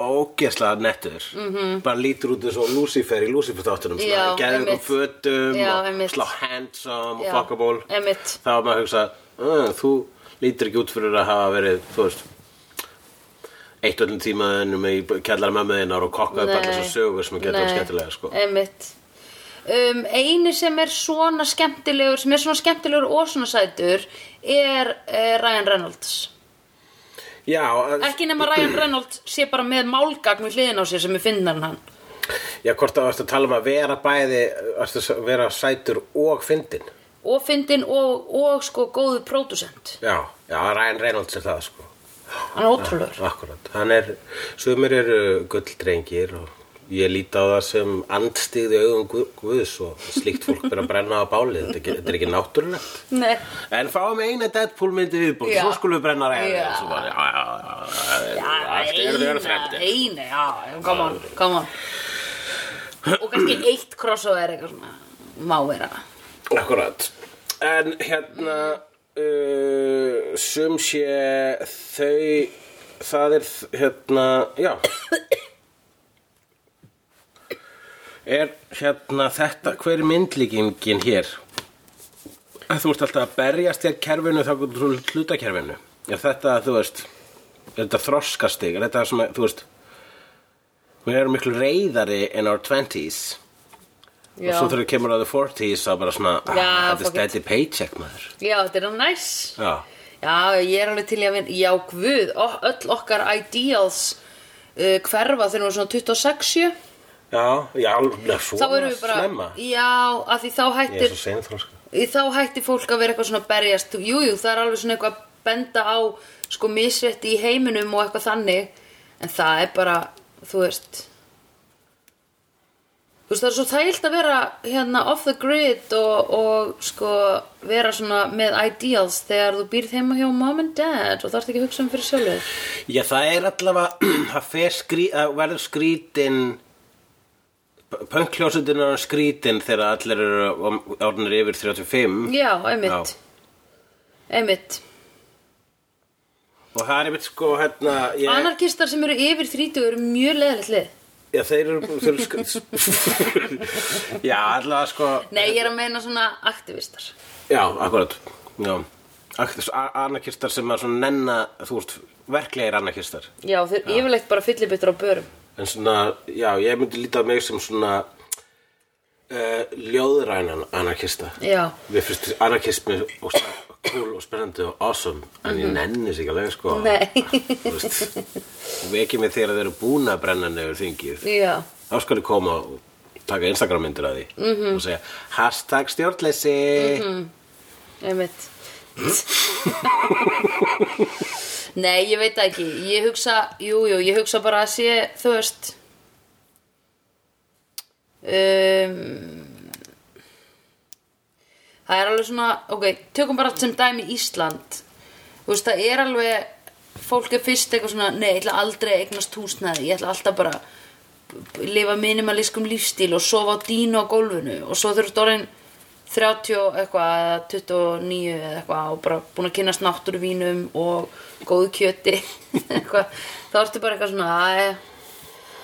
C: ógeðslega nettur -hmm. bara lítur út eins og Lucifer í Lucifer þáttunum
B: Mhm. Já,
C: geðum
B: einmitt.
C: fötum
B: Já,
C: og
B: einmitt.
C: slá handsome
B: Já,
C: og fuckable
B: einmitt.
C: þá var maður að hugsa "Mm, þú lítur ekki út fyrir að hafa verið þú veist eitt öllum tímaðinum í kjallara mömmuðinnar og kokka upp
B: Nei.
C: allar svo sögur sem getur
B: Nei, Eh.
C: verið skemmtilega sko.
B: einmitt. um, eini sem er svona skemmtilegur sem er svona skemmtilegur og svona sætur er uh, Ryan Reynolds
C: Já,
B: ekki nema Ryan Reynolds sé bara með málgagn við hliðin á sér sem er finnar en hann
C: já, hvort að varstu að tala um að vera bæði varstu að vera sætur og fyndin
B: og fyndin og, og sko góðu pródusent
C: Já, já, Ryan Reynolds er það sko
B: hann er ótrúlegur
C: Akkurat, hann er, sumir eru gulldrengir og ég líti á það sem andstigði augum Guð- Guðs og slíkt fólk byrja að brenna á bálið, þetta er ekki, þetta er ekki náttúrulegt
B: Nei.
C: En fáum eina Deadpool myndi viðbútt,
B: Já.
C: svo skulum við brenna ræðið.
B: Já.
C: Já, já, já, já, já, allt eru þau
B: eina,
C: verið fremdi.
B: eina, já, come on, come on. og kannski eitt crossover eitthvað svona má vera
C: Akkurat. En hérna, uh, sum sé þau, það er þ- hérna, já. Er hérna þetta, hver er myndlíkingin hér? Að Þú ert alltaf að berjast þér kerfinu þá getur þú hlutakerfinu. Er þetta, þú veist, er þetta þroskastig? Er þetta sem að, þú veist, við erum miklu reyðari in our 20s og svo þegar kemur að the 40s þá bara svona, ah,
B: Já,
C: þetta er
B: fuck it.
C: steady paycheck maður
B: já, þetta er hann næs nice.
C: já,
B: Já, ég er alveg til í að vinna, já guð, ó- öll okkar ideals uh, hverfa þegar við erum svona 26
C: já, já, alveg
B: Þá
C: svona
B: erum við bara,
C: snemma
B: já, af því þá
C: ég er
B: hættir,
C: svo sko. seinþróska
B: í þá hættir fólk að vera eitthvað svona að berjast Jú, jú, það er alveg svona eitthvað að benda á sko misrétti í heiminum og eitthvað þannig En það er bara, þú veist, þú veist það er svo þægilt að vera hérna off the grid og, og sko vera svona með ideals þegar þú býrð heima hjá mom and dad og þarft ekki að hugsa um fyrir sjálfur
C: Já, það er allavega, það fer skrý, að verður skrítin, pönkljósutin er skrítin þegar allir eru árnir yfir 35
B: já, einmitt, einmitt
C: Og það er einmitt sko, hérna, ég,
B: anarkistar sem eru yfir 30 eru mjög leðilegt lið
C: já, þeir eru, þeir eru skrít, já, allavega sko,
B: nei, ég er að meina svona aktivistar
C: já, akkurat, já, akkurat, anarkistar sem að svona nenna, þú veist, verklegir anarkistar.
B: já, þeir yfirleitt bara fyllibittur á börum
C: En svona, já, ég myndi líta á mig sem svona uh, ljóðrænan anarkista.
B: Já.
C: Mér finnst anarkismi og cool og spennandi og awesome, en ég nenni þess ekki alveg, sko.
B: Mhm. Nei.
C: Þú veist, og veki mig þegar þeir eru búin að brenna nefnir þingið.
B: já,
C: Þá skal ég koma og taka Instagram myndir að því
B: Mhm.
C: -hmm. og segja hashtag stjórnleysi.
B: einmitt Nei, ég veit það ekki Ég hugsa, jú, jú, ég hugsa bara að sé þú veist um, Það er alveg svona ok, tökum bara sem dæmi Ísland Þú veist, það er alveg fólk er fyrst eitthvað svona nei, ég ætla aldrei að eignast húsnaði ég ætla alltaf bara að lifa minimalískum lífstíl og sofa á dínu á gólfinu og svo þurft orðin 30 og eitthvað, eða 29 eða eitthvað og bara búin að kynast náttúruvínum og góðu kjöti eitthvað, þá ertu bara eitthvað svona "Æ,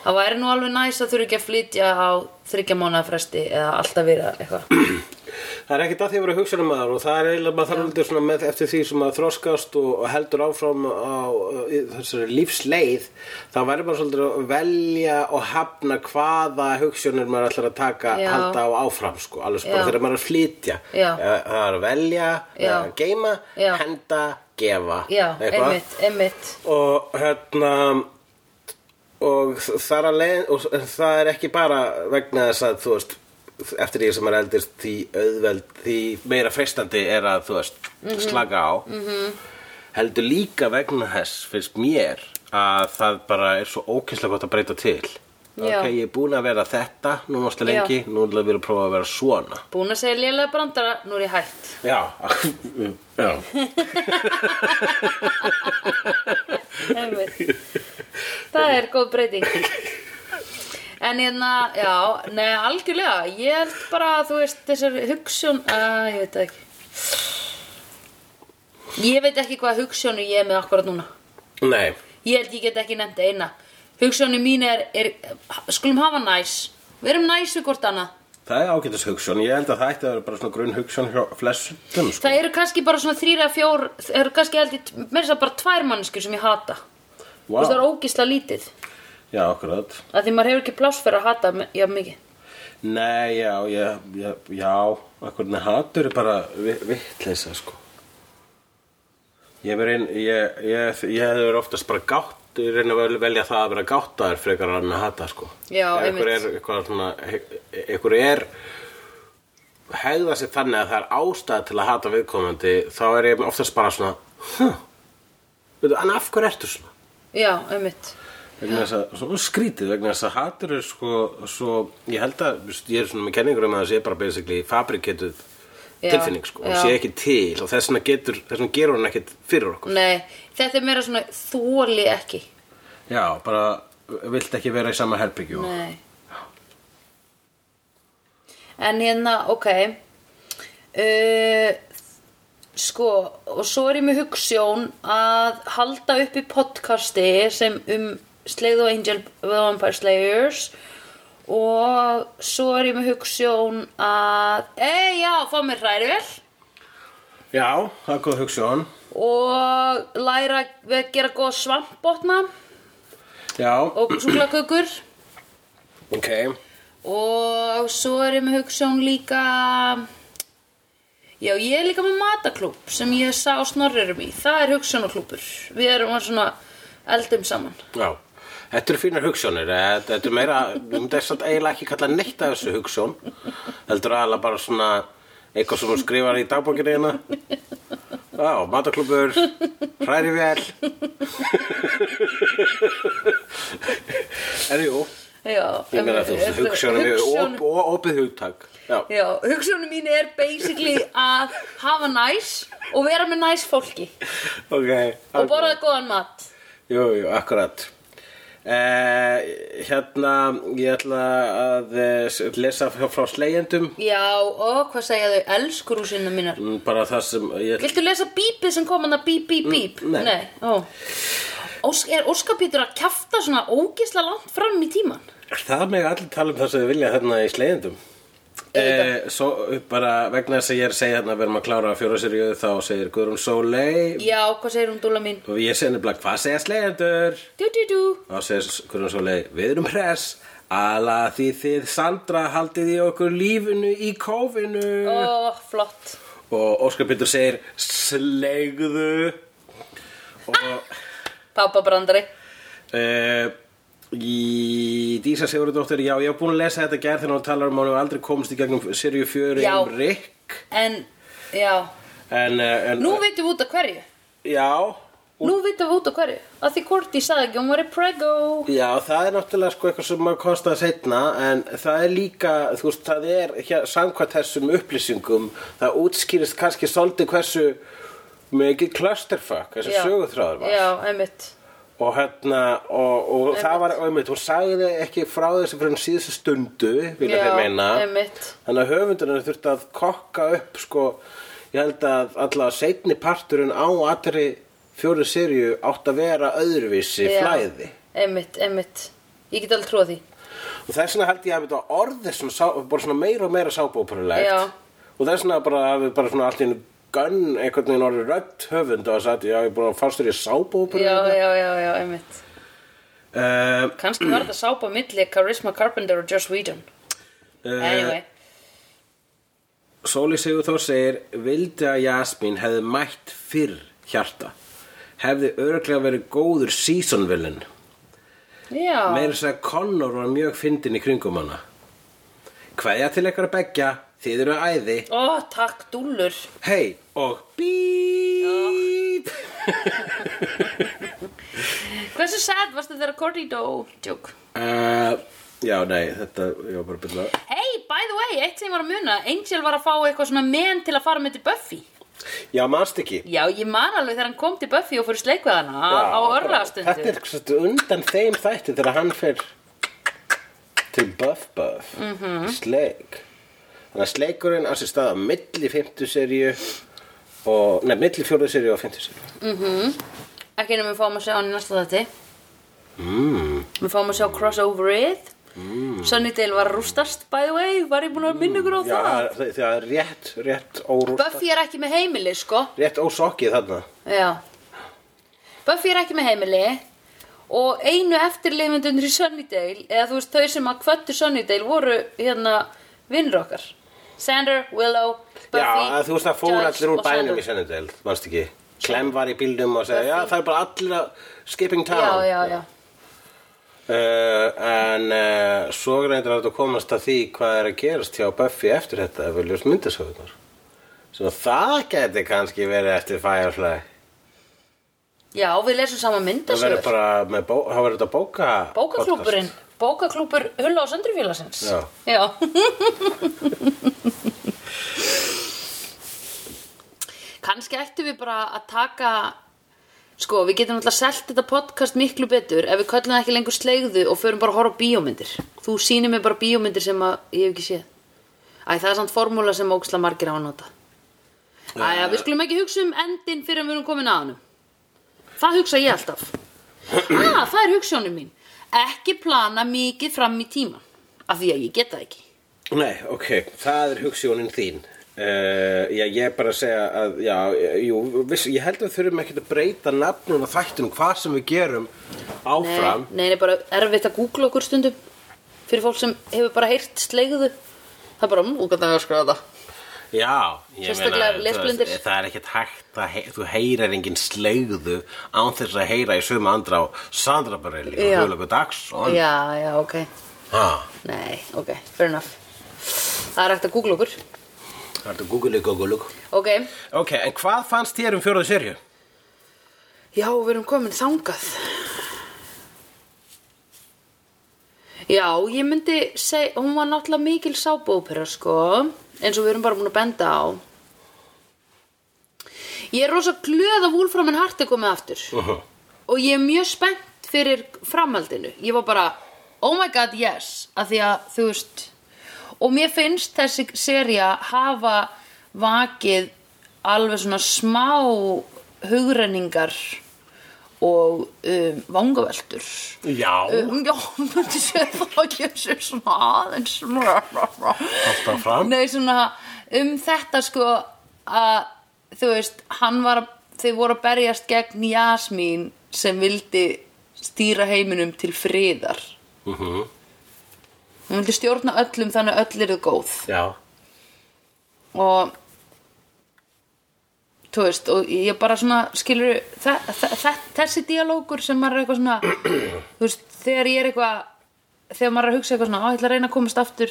B: það væri nú alveg næs að þurfi ekki að flytja á þryggja mánuða fresti eða alltaf vera eitthvað
C: Það er ekkert að því að vera hugsunum maður og það er eiginlega maður þarf aldrei svona með eftir því sem maður þroskast og, og heldur áfram á uh, í þessari lífsleið þá verður maður svolítið að velja og hafna hvaða hugsunir maður ætlar að taka,
B: Já.
C: halda á áfram sko, alveg sem bara
B: Já.
C: þegar maður er að flytja
B: Já.
C: Eh, það er að velja,
B: Já.
C: eh, geima
B: Já.
C: henda, gefa
B: Já,
C: eitthvað.
B: einmitt, einmitt
C: og hérna og þar að leið og það er ekki bara vegna þess að þú veist eftir því sem er eldist því auðveld því meira freistandi er að þú veist slaka á -hmm. heldur líka vegna þess finnst mér að það bara er svo ókynnslega gott að breyta til
B: Já.
C: ok, ég er búin að vera þetta nú mástu lengi, nú ætla að vera að prófa að vera svona
B: Búin að segja lélega brandara, nú er ég hætt
C: já, já
B: Einmitt. Það er góð breyting En hérna, já, nei, algjörlega Ég held bara, þú veist, þessar hugsun að, ég veit það ekki Ég veit ekki hvað hugsjónu ég er með akkurat núna
C: nei,
B: Ég held ég get ekki nefnt eina Hugsjónu mín er, er skulum hafa næs Verum næs við hvort annað
C: það er ágætis hugsun ég held að það ætti að vera bara svona grunn hugsun hjá flestum sko.
B: Það eru kannski bara svona þrýra, fjór Það eru kannski held ég, mér er það bara tvær manneskjur sem ég hata Þú veist, það er ógisla lítið
C: Já, akkurat.
B: að því maður hefur ekki pláss fyrir að hata me- jafn mikið
C: Nei, já, já, já, já akkurat, nei, hatur er bara vi- vitleysa, sko. Ég verið einn, ég, ég, ég hefði verið oftast bara gátt, ég reyna að vel- velja það að vera gáttaður frekar en að hata, sko.
B: Já,
C: Ef einhver
B: einmitt.
C: er, eitthvað svona, e-, einhver er, hegða sér þannig að það er ástæð til að hata viðkomandi, þá er ég oftast bara svona, hm, veitu, en af hverju ertu svona?
B: já, einmitt
C: vegna þess að, svona skrítið vegna þess að hatur er sko svo, ég held að, þú veist, ég er svona með kenningur um að það sé bara basically fabriketuð
B: Já,
C: tilfinning sko, hún
B: já.
C: sé ekki til og þess vegna getur, þess vegna gerur hún ekkit fyrir okkur
B: nei, þetta er meira svona þóli ekki
C: já, bara, vilt ekki vera í sama herbyggju og-
B: nei en hérna, ok uh, sko og svo er ég með hugssjón að halda upp í podcasti sem um Slay the Angel The Vampire Slayers og svo er ég með hugssjón að, ei já, fá mér hræri vel
C: já, það er góð hugsun
B: og læra við að gera góða svampbotna
C: já,
B: og súklakökur
C: ok
B: og svo er ég með hugsun líka já ég er líka með mataklúb sem ég sá snorrirum í það er hugsunaklúbur við erum að svona eldum saman
C: já, þetta eru fínar hugsunir eh, þetta er meira, þú myndir þess að eiginlega ekki kalla neitt af þessu hugsun heldur aðalega bara svona eitthvað sem hún skrifar í dagbókinu hérna já, mataklubur hræri vel en jú
B: Já,
C: Ég meina þú veist, hugsjónum er
B: Hugsjónum-
C: op, op- opið hugtak. Já.
B: Já, hugsunum mín er basically að hafa næs og vera með næs fólki
C: Ok.
B: og borða góðan mat
C: Jú, jú, akkurat. Eh, hérna, ég ætla að eh, s- lesa frá, frá slegjendum.
B: Já, og hvað segja þau, elskurúsina mínar
C: Mm, Bara það sem ég ætla...
B: Viltu lesa bípið sem kom hann að bíp, bíp, bíp?
C: Mm, nei.
B: ó Ósk, Er Óskar Pétur að kjafta svona ógisla langt fram í tíman?
C: Það með allir tala um það sem þau vilja þarna í slegjendum.
B: Auðvitað.
C: Eh, svo bara vegna þess að ég er að segja hérna að við erum að klára fjóra serið þá segir Guðrún Sólei
B: Já, hvað segir hún dúla mín?
C: og ég segir nefnilega hvað segja slegjendur?
B: Dú, dú, dú
C: þá segir Guðrún Sólei við erum hress ala því þið Sandra haldið í okkur lífinu í kófinu
B: Ó, flott
C: og Óskar Pétur segir slegðu og
B: Pappa brandari
C: uh, í Dísa Sigurðardóttir já ég hef búin að lesa þetta gerð þegar hún talar um að hún hefur aldrei komist í gegnum serju fjöru
B: Já.
C: um Rick
B: En, já
C: en, eh, en
B: Nú veitum við út af hverju
C: já
B: Nú veitum við út af hverju Að því Korti sagði ekki, hún var í prego
C: Já, það er náttúrulega sko eitthvað sem maður kostaði setna en það er líka, þú veist, það er hér, samkvæmt þessum upplýsingum það útskýrist kannski svolítið hversu mikið clusterfuck þessi
B: Já.
C: söguþráður var
B: Já, einmitt
C: og hérna, og, og það var einmitt, hún sagði ekki frá þessu fyrir síðustu stundu, vilja
B: Já,
C: þeir meina
B: einmitt.
C: þannig að höfundurinn þurfti að kokka upp sko, ég held að allavega setni parturinn á aðri fjóru sirju átt að vera öðruvísi
B: Já.
C: flæði
B: Einmitt, einmitt Ég get alveg trúa því
C: og þess vegna held ég að þetta orðið svona, sá, bara svona meira og meira
B: Já.
C: sábóperulegt og þess vegna bara hafi bara svona allt í einu gönn einhvern veginn orðið rödd höfund og að sagt ég hafi búin að fástur í
B: Já,
C: sábóperulegt
B: já, já, já, einmitt
C: uh,
B: Kanski var þetta sápa milli Charisma Carpenter og Joss Whedon
C: Eh,
B: Anyway
C: Sóli Sigur Þór segir vildi að Jasmín hefði mætt fyrr hjarta hefði örglega verið góður seasonvillin
B: Já
C: meira þess að Connor var mjög fyndin í kringum hana hverja til ykkur að begja þið eru æði
B: Ó, takk, dúllur
C: hei og bíp
B: Hversu sad varstu þegar Korti dó? Joke
C: Uh, já, nei, þetta, ég var bara að byrja
B: Hey, by the way, eitt sem ég var að muna Angel var að fá eitthvað svona menn til að fara með til Buffy
C: Já, manst ekki
B: Já, ég man alveg þegar hann kom til Buffy og fyrir sleikveðana á örlagastundu
C: Þetta er svolítið undan þeim þætti þegar hann fer til Buff Buff mm
B: Mhm.
C: -hmm. Sleik Þannig að sleikurinn á sér stað á milli 50 seríu og, nei, milli 4. seríu og 50 seríu
B: Ekki nema við fáum að sjá hann í næsta þætti mm. Við fáum að sjá crossoverið mm. Sunnydale var að rústast by the way Var ég búin að minna ykkur á
C: Já,
B: það?
C: það það er rétt, rétt órústa
B: Buffy er ekki með heimili sko
C: Rétt ósokkið þarna
B: Já Buffy er ekki með heimili Og einu eftirleifindunir í Sunnydale Eða þú veist þau sem að kvöttu Sunnydale voru hérna vinnur okkar Sander, Willow, Buffy
C: Já, að þú veist það fór
B: Giles
C: allir úr
B: og
C: bænum
B: Sander.
C: í Sunnydale, manst ekki Clem var í bílnum og segja, já, það er bara allir að skipping town
B: Já, já, já
C: Uh, en uh, svo reyndir að komast að því hvað er að gerast hjá Buffy eftir þetta ef við ljóst myndasöðunar sem að það geti kannski verið eftir Firefly
B: Já, við lesum saman
C: það verður
B: myndasögur
C: bara með bó, þá verður þetta bóka
B: Bókaklúburinn Bókaklúbur Hulla og Söndrufélagsins
C: Já.
B: Já Kannski ættum við bara að taka Sko, við getum alltaf selt þetta podcast miklu betur ef við köllum það ekki lengur sleigðu og förum bara að horfa á bíómyndir Þú sýnir mér bara bíómyndir sem að ég hef ekki séð Æ, það er samt formúla sem óksla margir á að nota Æja, við skulum ekki hugsa um endin fyrir en við erum komin að hanum Það hugsa ég alltaf ah, það er hugssjónum mín ekki plana mikið fram í tíman af því að ég geta ekki
C: podcast Nei, ok, það er hugsiðunin þín uh, Já, ég er bara að segja að já, jú, viss, ég held að við þurfum ekkert að breyta nafnun og þættunum hvað sem við gerum áfram
B: nei, nei, bara erfitt að googla okkur stundum fyrir fólk sem hefur bara heyrt sleigðu það er bara mú, hvernig að um skráða það
C: Já, ég
B: Sérstaklega
C: þú
B: lesblindir.
C: veist, eh, það er ekkert hægt að he þú heyrar engin sleigðu án þess að heyra í sömu andra á Sandra Barelli og Ah,
B: Já.
C: Hjólagu Dagsson
B: já, já, ok
C: Ha,
B: nei, ok, fair enough það er hægt að googla okkur
C: það ertu Google Google
B: ok,
C: Ok, en hvað fannst þér um fjóraðu serju?
B: já, við erum komin þangað Já, ég myndi segja, hún var náttúrulega mikil sábópera, sko, eins og við erum bara búin að benda á. Ég er rosa glöð að Wolfram and Hart er komið aftur
C: Mhm.
B: og ég er mjög spennt fyrir framhaldinu. Ég var bara, oh my god, yes, að því að, þú veist, og mér finnst þessi seria hafa vakið alveg svona smá hugrenningar og um, vangaveltur
C: Já,
B: um, já, myndi sé það að ég sé svona aðeins
C: alltaf fram
B: Nei, svona um þetta sko að þú veist, hann var að þau voru að berjast gegn Jasmín sem vildi stýra heiminum til friðar
C: Mhm.
B: hún vildi stjórna öllum þannig að öll eru góð
C: Já,
B: og þú veist, og ég bara svona skilur, þe þe þe þessi dialógur sem maður er eitthvað svona þú veist, þegar ég er eitthvað þegar maður er að hugsa eitthvað svona, á, ég ætla að reyna að komast aftur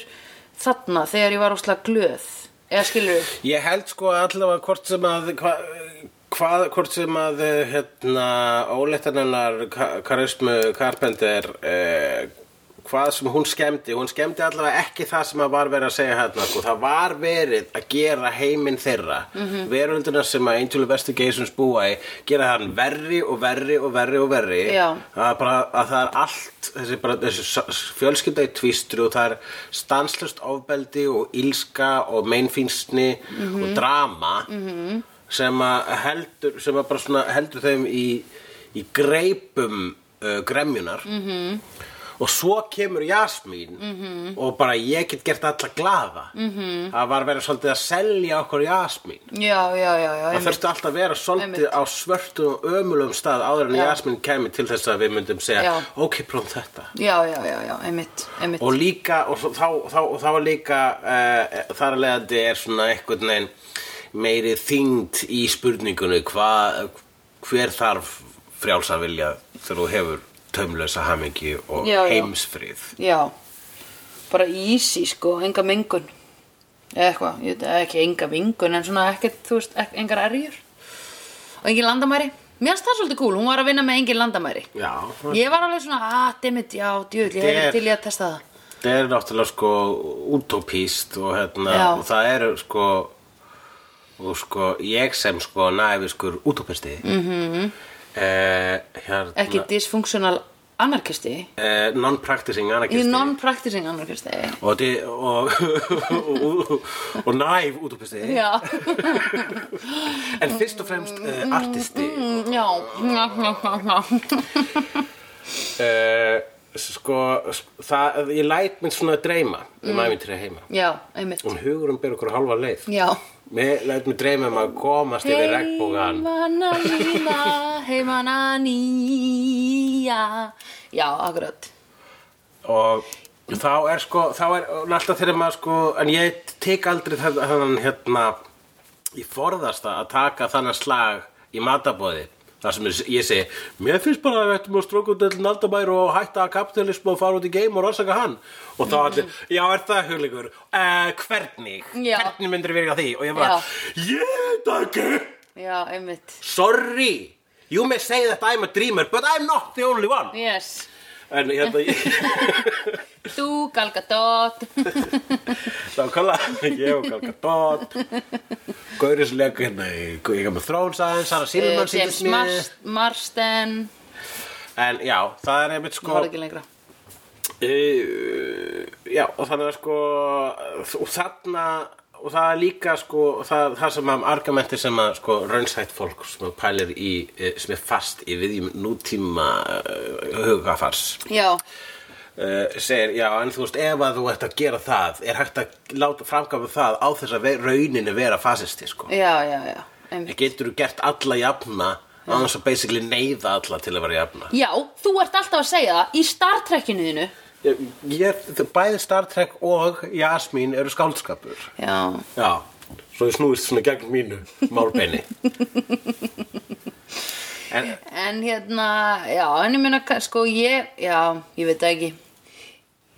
B: þarna, þegar ég var óslega glöð eða skilur,
C: Ég held sko allavega hvort sem að hva, hvað, hvort sem að eh, hérna, óleittanennar karismu Carpenter eh, hvað sem hún skemmdi hún skemmdi allavega ekki það sem að var verið að segja hérna sko, það var verið að gera heiminn þeirra veröldina sem að Angel Investigations búa í gera hann verri og verri og verri og verri
B: Já.
C: að, bara, að það er allt þessi, bara, þessi s- fjölskylda í tvistri og það er stanslust ofbeldi og ílska og meinfínsni og drama -hmm. sem að heldur sem að bara svona heldur þeim í, í greipum uh, gremjunar -hmm. og svo kemur Jasmín -hmm. og bara ég get gert alla glaða -hmm. það var verið svolítið að selja okkur Jasmín
B: já, já, já, já
C: Það
B: einmitt.
C: þurfti alltaf að vera svolítið
B: Einmitt.
C: á svörtu og ömulegum stað áður en
B: Já.
C: Jasmín kæmi til þess að við myndum segja
B: Já.
C: ok, prófum þetta
B: já, já, já, já, einmitt, einmitt.
C: og líka, og svo- þá, þá, og þá er líka uh, þar að leiðandi er svona einhvern veginn meiri þyngd í spurningunni hva, hver þarf frjálsa vilja þegar þú hefur taumlösa hamingi og
B: Já, já.
C: heimsfrið
B: já, bara easy sko, enga mengun eða eitthvað, ég veit ekki enga mengun en svona ekkert, þú veist, ek- engar erjur og engin landamæri mér finnst það svolítið cool, hún var að vinna með engin landamæri
C: Já,
B: ég var alveg svona, ah, dammit, já, djöð ég
C: Þetta
B: hefði
C: er-
B: til í að testa það
C: Það er náttúrulega sko utopíst og hérna
B: Já.
C: og það eru sko og sko ég sem sko næfiskur utopisti mm -hmm. hérna
B: Mhm. ekki dysfunctional anarkisti
C: eh, non-practicing
B: í
C: anarchisti
B: non-practicing anarkisti
C: og, di- og, og, og, og næf utopisti
B: já,
C: en fyrst og fremst eh, artisti
B: Mm, já, já
C: eh, sko s- það, ég læt minn svona dreyma um æfintri heima
B: já, einmitt
C: og hugurum ber okkur hálfa leið
B: já
C: Mér læt mig dreyma um að komast yfir regnbógan
B: Heimana nýja, heimana nýja Já, akkurat
C: og þá er sko þá er alltaf þegar maður sko en ég tek aldrei þenn- þennan hérna ég forðast það að taka þannan slag í matabóði þar sem ég segi, mér finnst bara að við ættum að stróka út allir naldabæri og hætta að kapitalismu og fara út í geim og rannsaka hann og þá allir, já er það hugleikur uh, hvernig,
B: Já.
C: hvernig myndir við virka því og ég bara,
B: Já.
C: ég veit það ekki
B: Já, einmitt
C: sorry, you may say that I'm a dreamer but I'm not the only one
B: Yes,
C: en hérna ég
B: þú galgadótt
C: Nákvæmlega, ég og Galga Dótt Gaurið sem leik hérna í Ég með Thrones aðeins, Sara Silverman
B: Eh, James
C: sýndist mér
B: Mar Marston
C: En já, það er einmitt sko
B: Það var ekki lengra
C: uh, Já, og þannig að sko Og þarna Og það er líka sko það, það sem að argumenti sem að sko raunsætt fólk sem að pælir í eh, sem er fast í viðjum nútíma uh, hugafars
B: Já,
C: uh, segir, já, en þú veist, ef að þú ert að gera það, er hægt að láta framkvæmum það á þess að ve- rauninni vera fasisti, sko.
B: já, já, já einmitt.
C: Getur þú gert alla jafna, á þess að basically neyða alla til að vera jafna.
B: Já, þú ert alltaf að segja það í Star Trekkinu þínu
C: Ég, ég, þau- bæði Star Trek og Jasmín eru skáldskapur.
B: Já,
C: Já, svo ég snúist svona gegn mínu málbeini. en,
B: En hérna, já, en ég meina, ka- sko, ég, já, ég veit það ekki.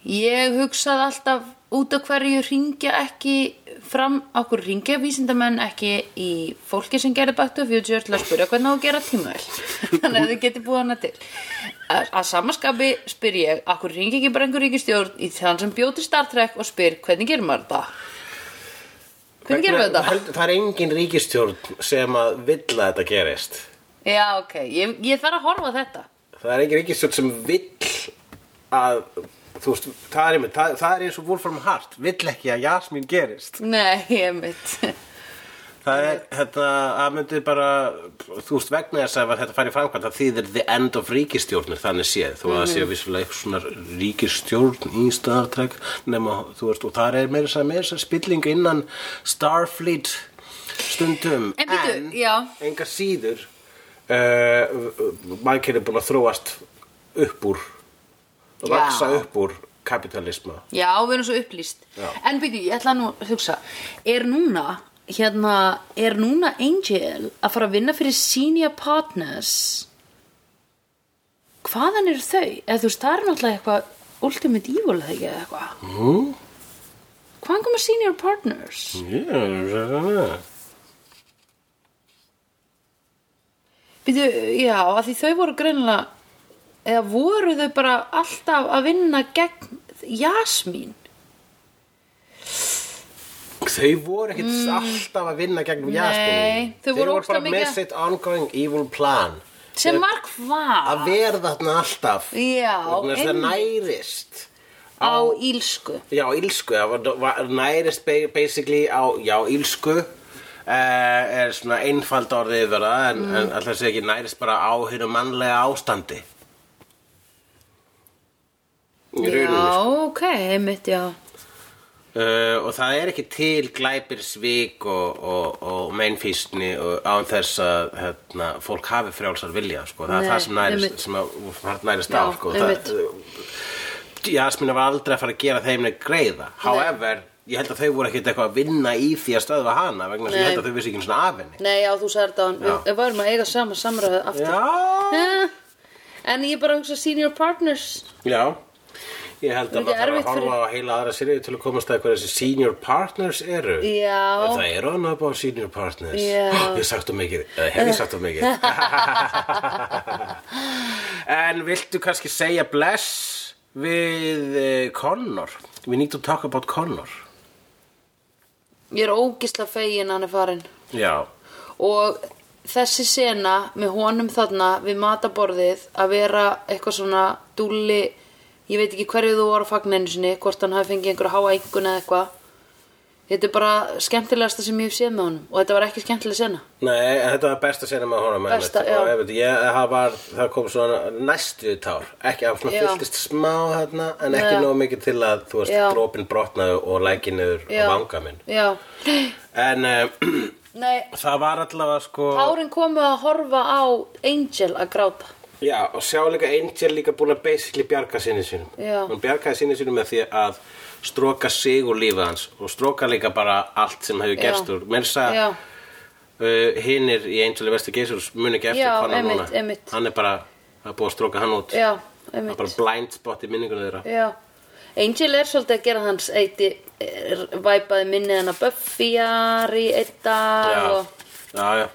B: Ég hugsaði alltaf út af hverju ringja ekki fram okkur ringja vísindamenn ekki í fólki sem gerði Back to the Future til að spyrja hvernig á að gera tímavel þannig að þau geti búið hana til að að samaskapi spyr ég okkur ringi ekki bara einhver ríkistjórn í þann sem bjóti Star Trek og spyr hvernig gerum maður þetta hvernig gerum við þetta
C: Held- Það er engin ríkistjórn sem að vill að þetta gerist
B: já ok, ég, ég þarf að horfa á þetta
C: Það er engin ríkistjórn sem vill að þú veist, það er, einmitt, það, það er eins og Wolfram Hart vill ekki að Jasmín gerist
B: nei, ég mitt
C: það er, þetta, að myndi bara þú veist, vegna þess að þetta fari framkvæmt það þýðir the end of ríkistjórnir þannig séð, þó að það sé vissulega eitthvað svona ríkistjórn í Star Trek nema, þú veist, og þar er meira þess að meira þess að spilling innan Starfleet stundum
B: En bíddu, já.
C: enga síður uh, mannkyni búin að þróast upp úr
B: Já.
C: vaksa upp úr kapitalisma
B: Já, við erum svo upplýst
C: Já.
B: En byrju, ég ætla nú að hugsa Er núna, hérna Er núna Angel að fara að vinna fyrir Senior Partners Hvaðan eru þau? Eða þú veist, það er náttúrulega eitthvað Ultimate Evil þegar ekki eða eitthvað
C: mm.
B: Hvaðan koma Senior Partners?
C: yeah.
B: Byrju, já, að því þau voru greinilega Eða voru þau bara alltaf að vinna gegn Jasmín
C: Þau voru ekkert alltaf að vinna gegnum Jasmín
B: Mm. þau voru
C: bara
B: ógeðslega
C: með
B: mikið-
C: sitt ongoing evil plan
B: Sem var hvað?
C: að vera þarna alltaf
B: Já,
C: Vegna þess að það
B: einmitt.
C: nærist
B: Á ílsku
C: já, ílsku það var- var- nærist ba- basically á, já, ílsku Uh, er svona einfald orðið yfir það en, mm. en alltaf sé ekki nærist bara á hérna mannlega ástandi í rauninni
B: Já, ok, einmitt, já
C: Uh, og það er ekki til glæpir svík og, og, og meinfísni og án þess að hérna, fólk hafi frjálsar vilja sko. það
B: Nei,
C: er það sem
B: einmitt.
C: nærist, sem að, hart nærist á
B: Já,
C: sko.
B: einmitt.
C: það, Jasmina var aldrei að fara að gera þeim neitt greiða however, ég held að þau voru ekkert eitthvað að vinna í því að stöðva hana vegna þess að
B: Nei.
C: ég held að þau vissi ekki einu sinni af henni
B: Nei, já, þú sagði þetta á hann. Við-
C: Já.
B: Við varum að eiga sama samræðu aftur.
C: já,
B: Eh, En ég bara hugsa senior partners.
C: já Ég held
B: Er
C: að
B: ekki
C: maður þarf
B: erfitt
C: að horfa
B: fyrir-
C: á heila aðra sérið til að komast að hverja þessi senior partners eru. En
B: Já.
C: það eru hann upp á senior partners
B: Já.
C: Ég hef sagt um mikið, eða hef ég sagt um mikið En viltu kannski segja bless við eh, Connor We need to talk about Connor
B: Ég er ógisla fegin að hann er farin.
C: Já,
B: Og þessi sena með honum þarna við mataborðið að vera eitthvað svona dúlli, ég veit ekki hverju þú voru að fagna einu sinni, hvort hann hafi fengið einhverja háa einhvern eða eitthvað. Þetta er bara skemmtilegasta sem ég hef séð með honum og þetta var ekki skemmtileg sena.
C: nei, en þetta var besta sena með honum
B: Besta,
C: einmitt.
B: já.
C: Og einmitt, ég, það, var, það kom svona næstu tár Ekki að svona
B: Já.
C: fylltist smá þarna En ekki
B: Já.
C: nóg mikið til að þú veist
B: Já.
C: dropin brotnaði og lækinuður
B: Já.
C: á vanga minn
B: Já.
C: En um,
B: Nei,
C: það var allavega sko
B: Tárin komu að horfa á Angel að gráta.
C: Já, og sjá líka Angel líka búin að basically bjarga sinni sínum.
B: Já.
C: Hún bjargaði sinni sínum með því að stróka sig úr lífi hans og stróka líka bara allt sem hefur gerst úr. Mér þess að
B: Já,
C: uh, hinnir í Angel í Vestigeisus mun ekki eftir
B: Já,
C: hvað hann
B: einmitt,
C: núna.
B: einmitt.
C: Hann er bara, það er búið að stróka hann út.
B: já,
C: Það er bara
B: einmitt.
C: blind spot í minningunum þeirra.
B: Já. Angel er svolítið að gera hans eiti, er, væpaði minnið hennar Buffyar í einn dag og,
C: já, já,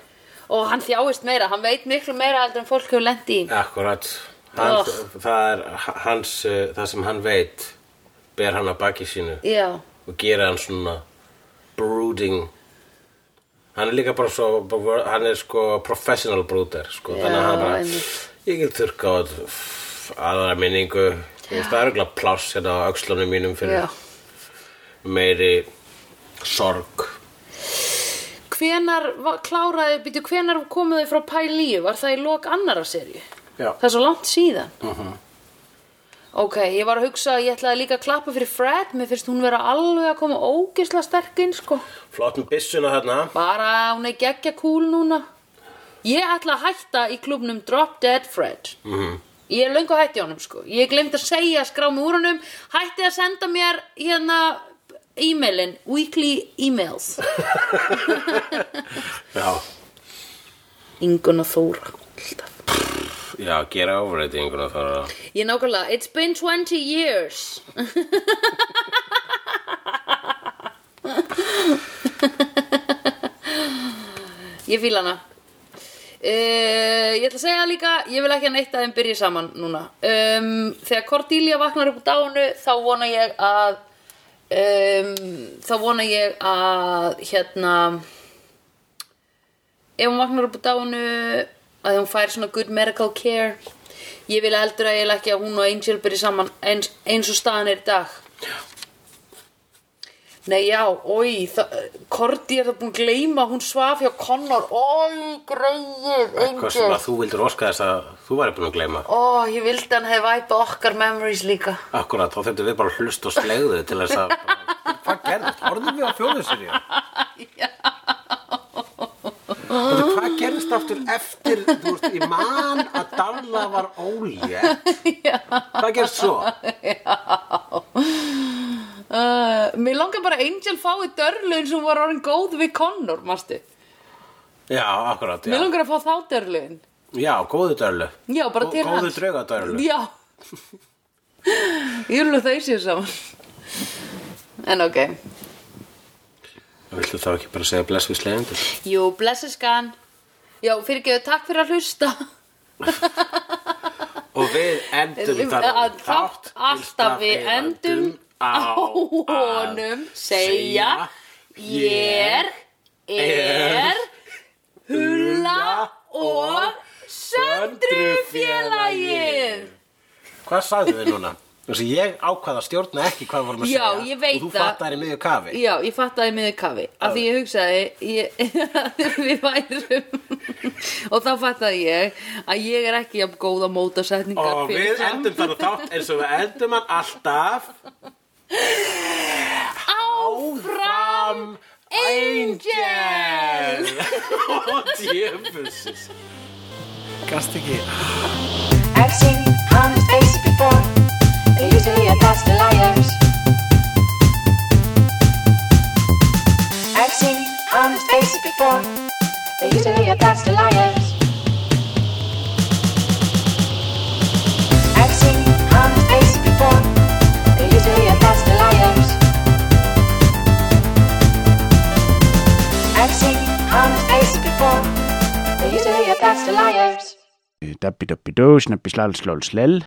B: og hann þjáist meira, hann veit miklu meira heldur en fólk hefur lendi í.
C: akkurat. Hans,
B: Oh.
C: Það er hans, uh, það sem hann veit, ber hann að baki sínu.
B: Já,
C: og gera hann svona brooding hann er líka bara svo hann er sko professional brooder sko,
B: Já,
C: þannig að hann bara
B: einmitt.
C: ég get þurrka á þetta, f- aðra minningu Þú veist, það er auðvitað pláss hérna á öxlunum mínum fyrir
B: já.
C: meiri sorg
B: Hvenar va- kláraði, býtu, hvenar komuðu frá Pælíu? Var það í lok annara serju?
C: já,
B: Það er svo langt síðan. Ok, ég var að hugsa að ég ætlaði líka að klappa fyrir Fred. Mér finnst hún vera alveg að koma ógisla sterk inn, sko.
C: flott með byssuna þarna
B: Bara hún er geggja kúl núna. Ég ætla að hætta í klubnum Drop Dead Fred. -hmm. Ég er löngu að hætti honum, sko. Ég glemt að segja að skrá mig úr honum. Hætti að senda mér hérna e-mailin, weekly e-mails.
C: já,
B: Ingun og Þóra, alltaf.
C: já gera overratinguna þar að
B: Ég nákvæmlega, it's been 20 years Ég fíla hana Uh, ég ætla að segja líka, ég vil ekki að neitt að þeim byrja saman núna um, Þegar Cordelia vaknar upp úr dáinu þá vona ég að um, þá vona ég að hérna ef hún vaknar upp úr dáinu að hún fær svona good medical care ég vil heldur að ég ekki að hún og Angel byrja saman eins, eins og staðan er í dag Nei já, oi, Korti er það búin að gleyma, hún svaf hjá Connor, oi, greið,
C: Hvað sem
B: Angel,
C: að þú vildur óska þess að þú væri búin að gleyma.
B: ó, ég vildi hann hefði væpa okkar memories líka.
C: Akkurat, þá þurftum við bara að hlusta og slegðu til þess að... bara, Hvað gerðist? Horfðum við á fjóðusir ég? Þú veit, hvað gerðist aftur eftir, þú veist, ég man að Darla var ólétt. Hvað gerðist svo?
B: Uh, mér langar bara að Angel fái dörlu eins og hún var orðin góð við Connor, mástu.
C: Já, akkurat,
B: Mér
C: já.
B: langar að fá þá dörluin.
C: Já, góðu Darlu.
B: Já, bara
C: Gó-
B: til
C: góðu
B: hans.
C: draugadörlu.
B: Já. ég vil að þau séu saman. En ok.
C: Viltu þá ekki bara segja bless við slegjandur?
B: Jú, blessiskan. Já, fyrirgeðu, takk fyrir að hlusta.
C: Og við endum
B: Við-
C: þar
B: að þátt alltaf við endum á honum segja ég er hula og söndrufélagið
C: Hvað sagðu við núna? Þessi ég ákvaða stjórna ekki hvað við vorum að
B: Já,
C: segja
B: ég veit
C: Og þú
B: það.
C: fattar í miðju kafi
B: Já, ég fattaði miður kafi af því ég hugsaði ég, að við værum og þá fattaði ég að ég er ekki jafn góð að móta setningar
C: Og
B: fyrir
C: við
B: fram.
C: endum þar þátt eins og við endum hann alltaf Áfram Angel Og djöfusis Gast ekki
D: I've seen honest faces before. They're usually a pass to liars. I've seen honest faces before. They're usually a pass to liars. I've seen honest faces before. They're usually a pass to liars. I've seen honest faces before. They're usually a pass to liars.
E: Dabbi dabbi do, snabbi slal slal slel.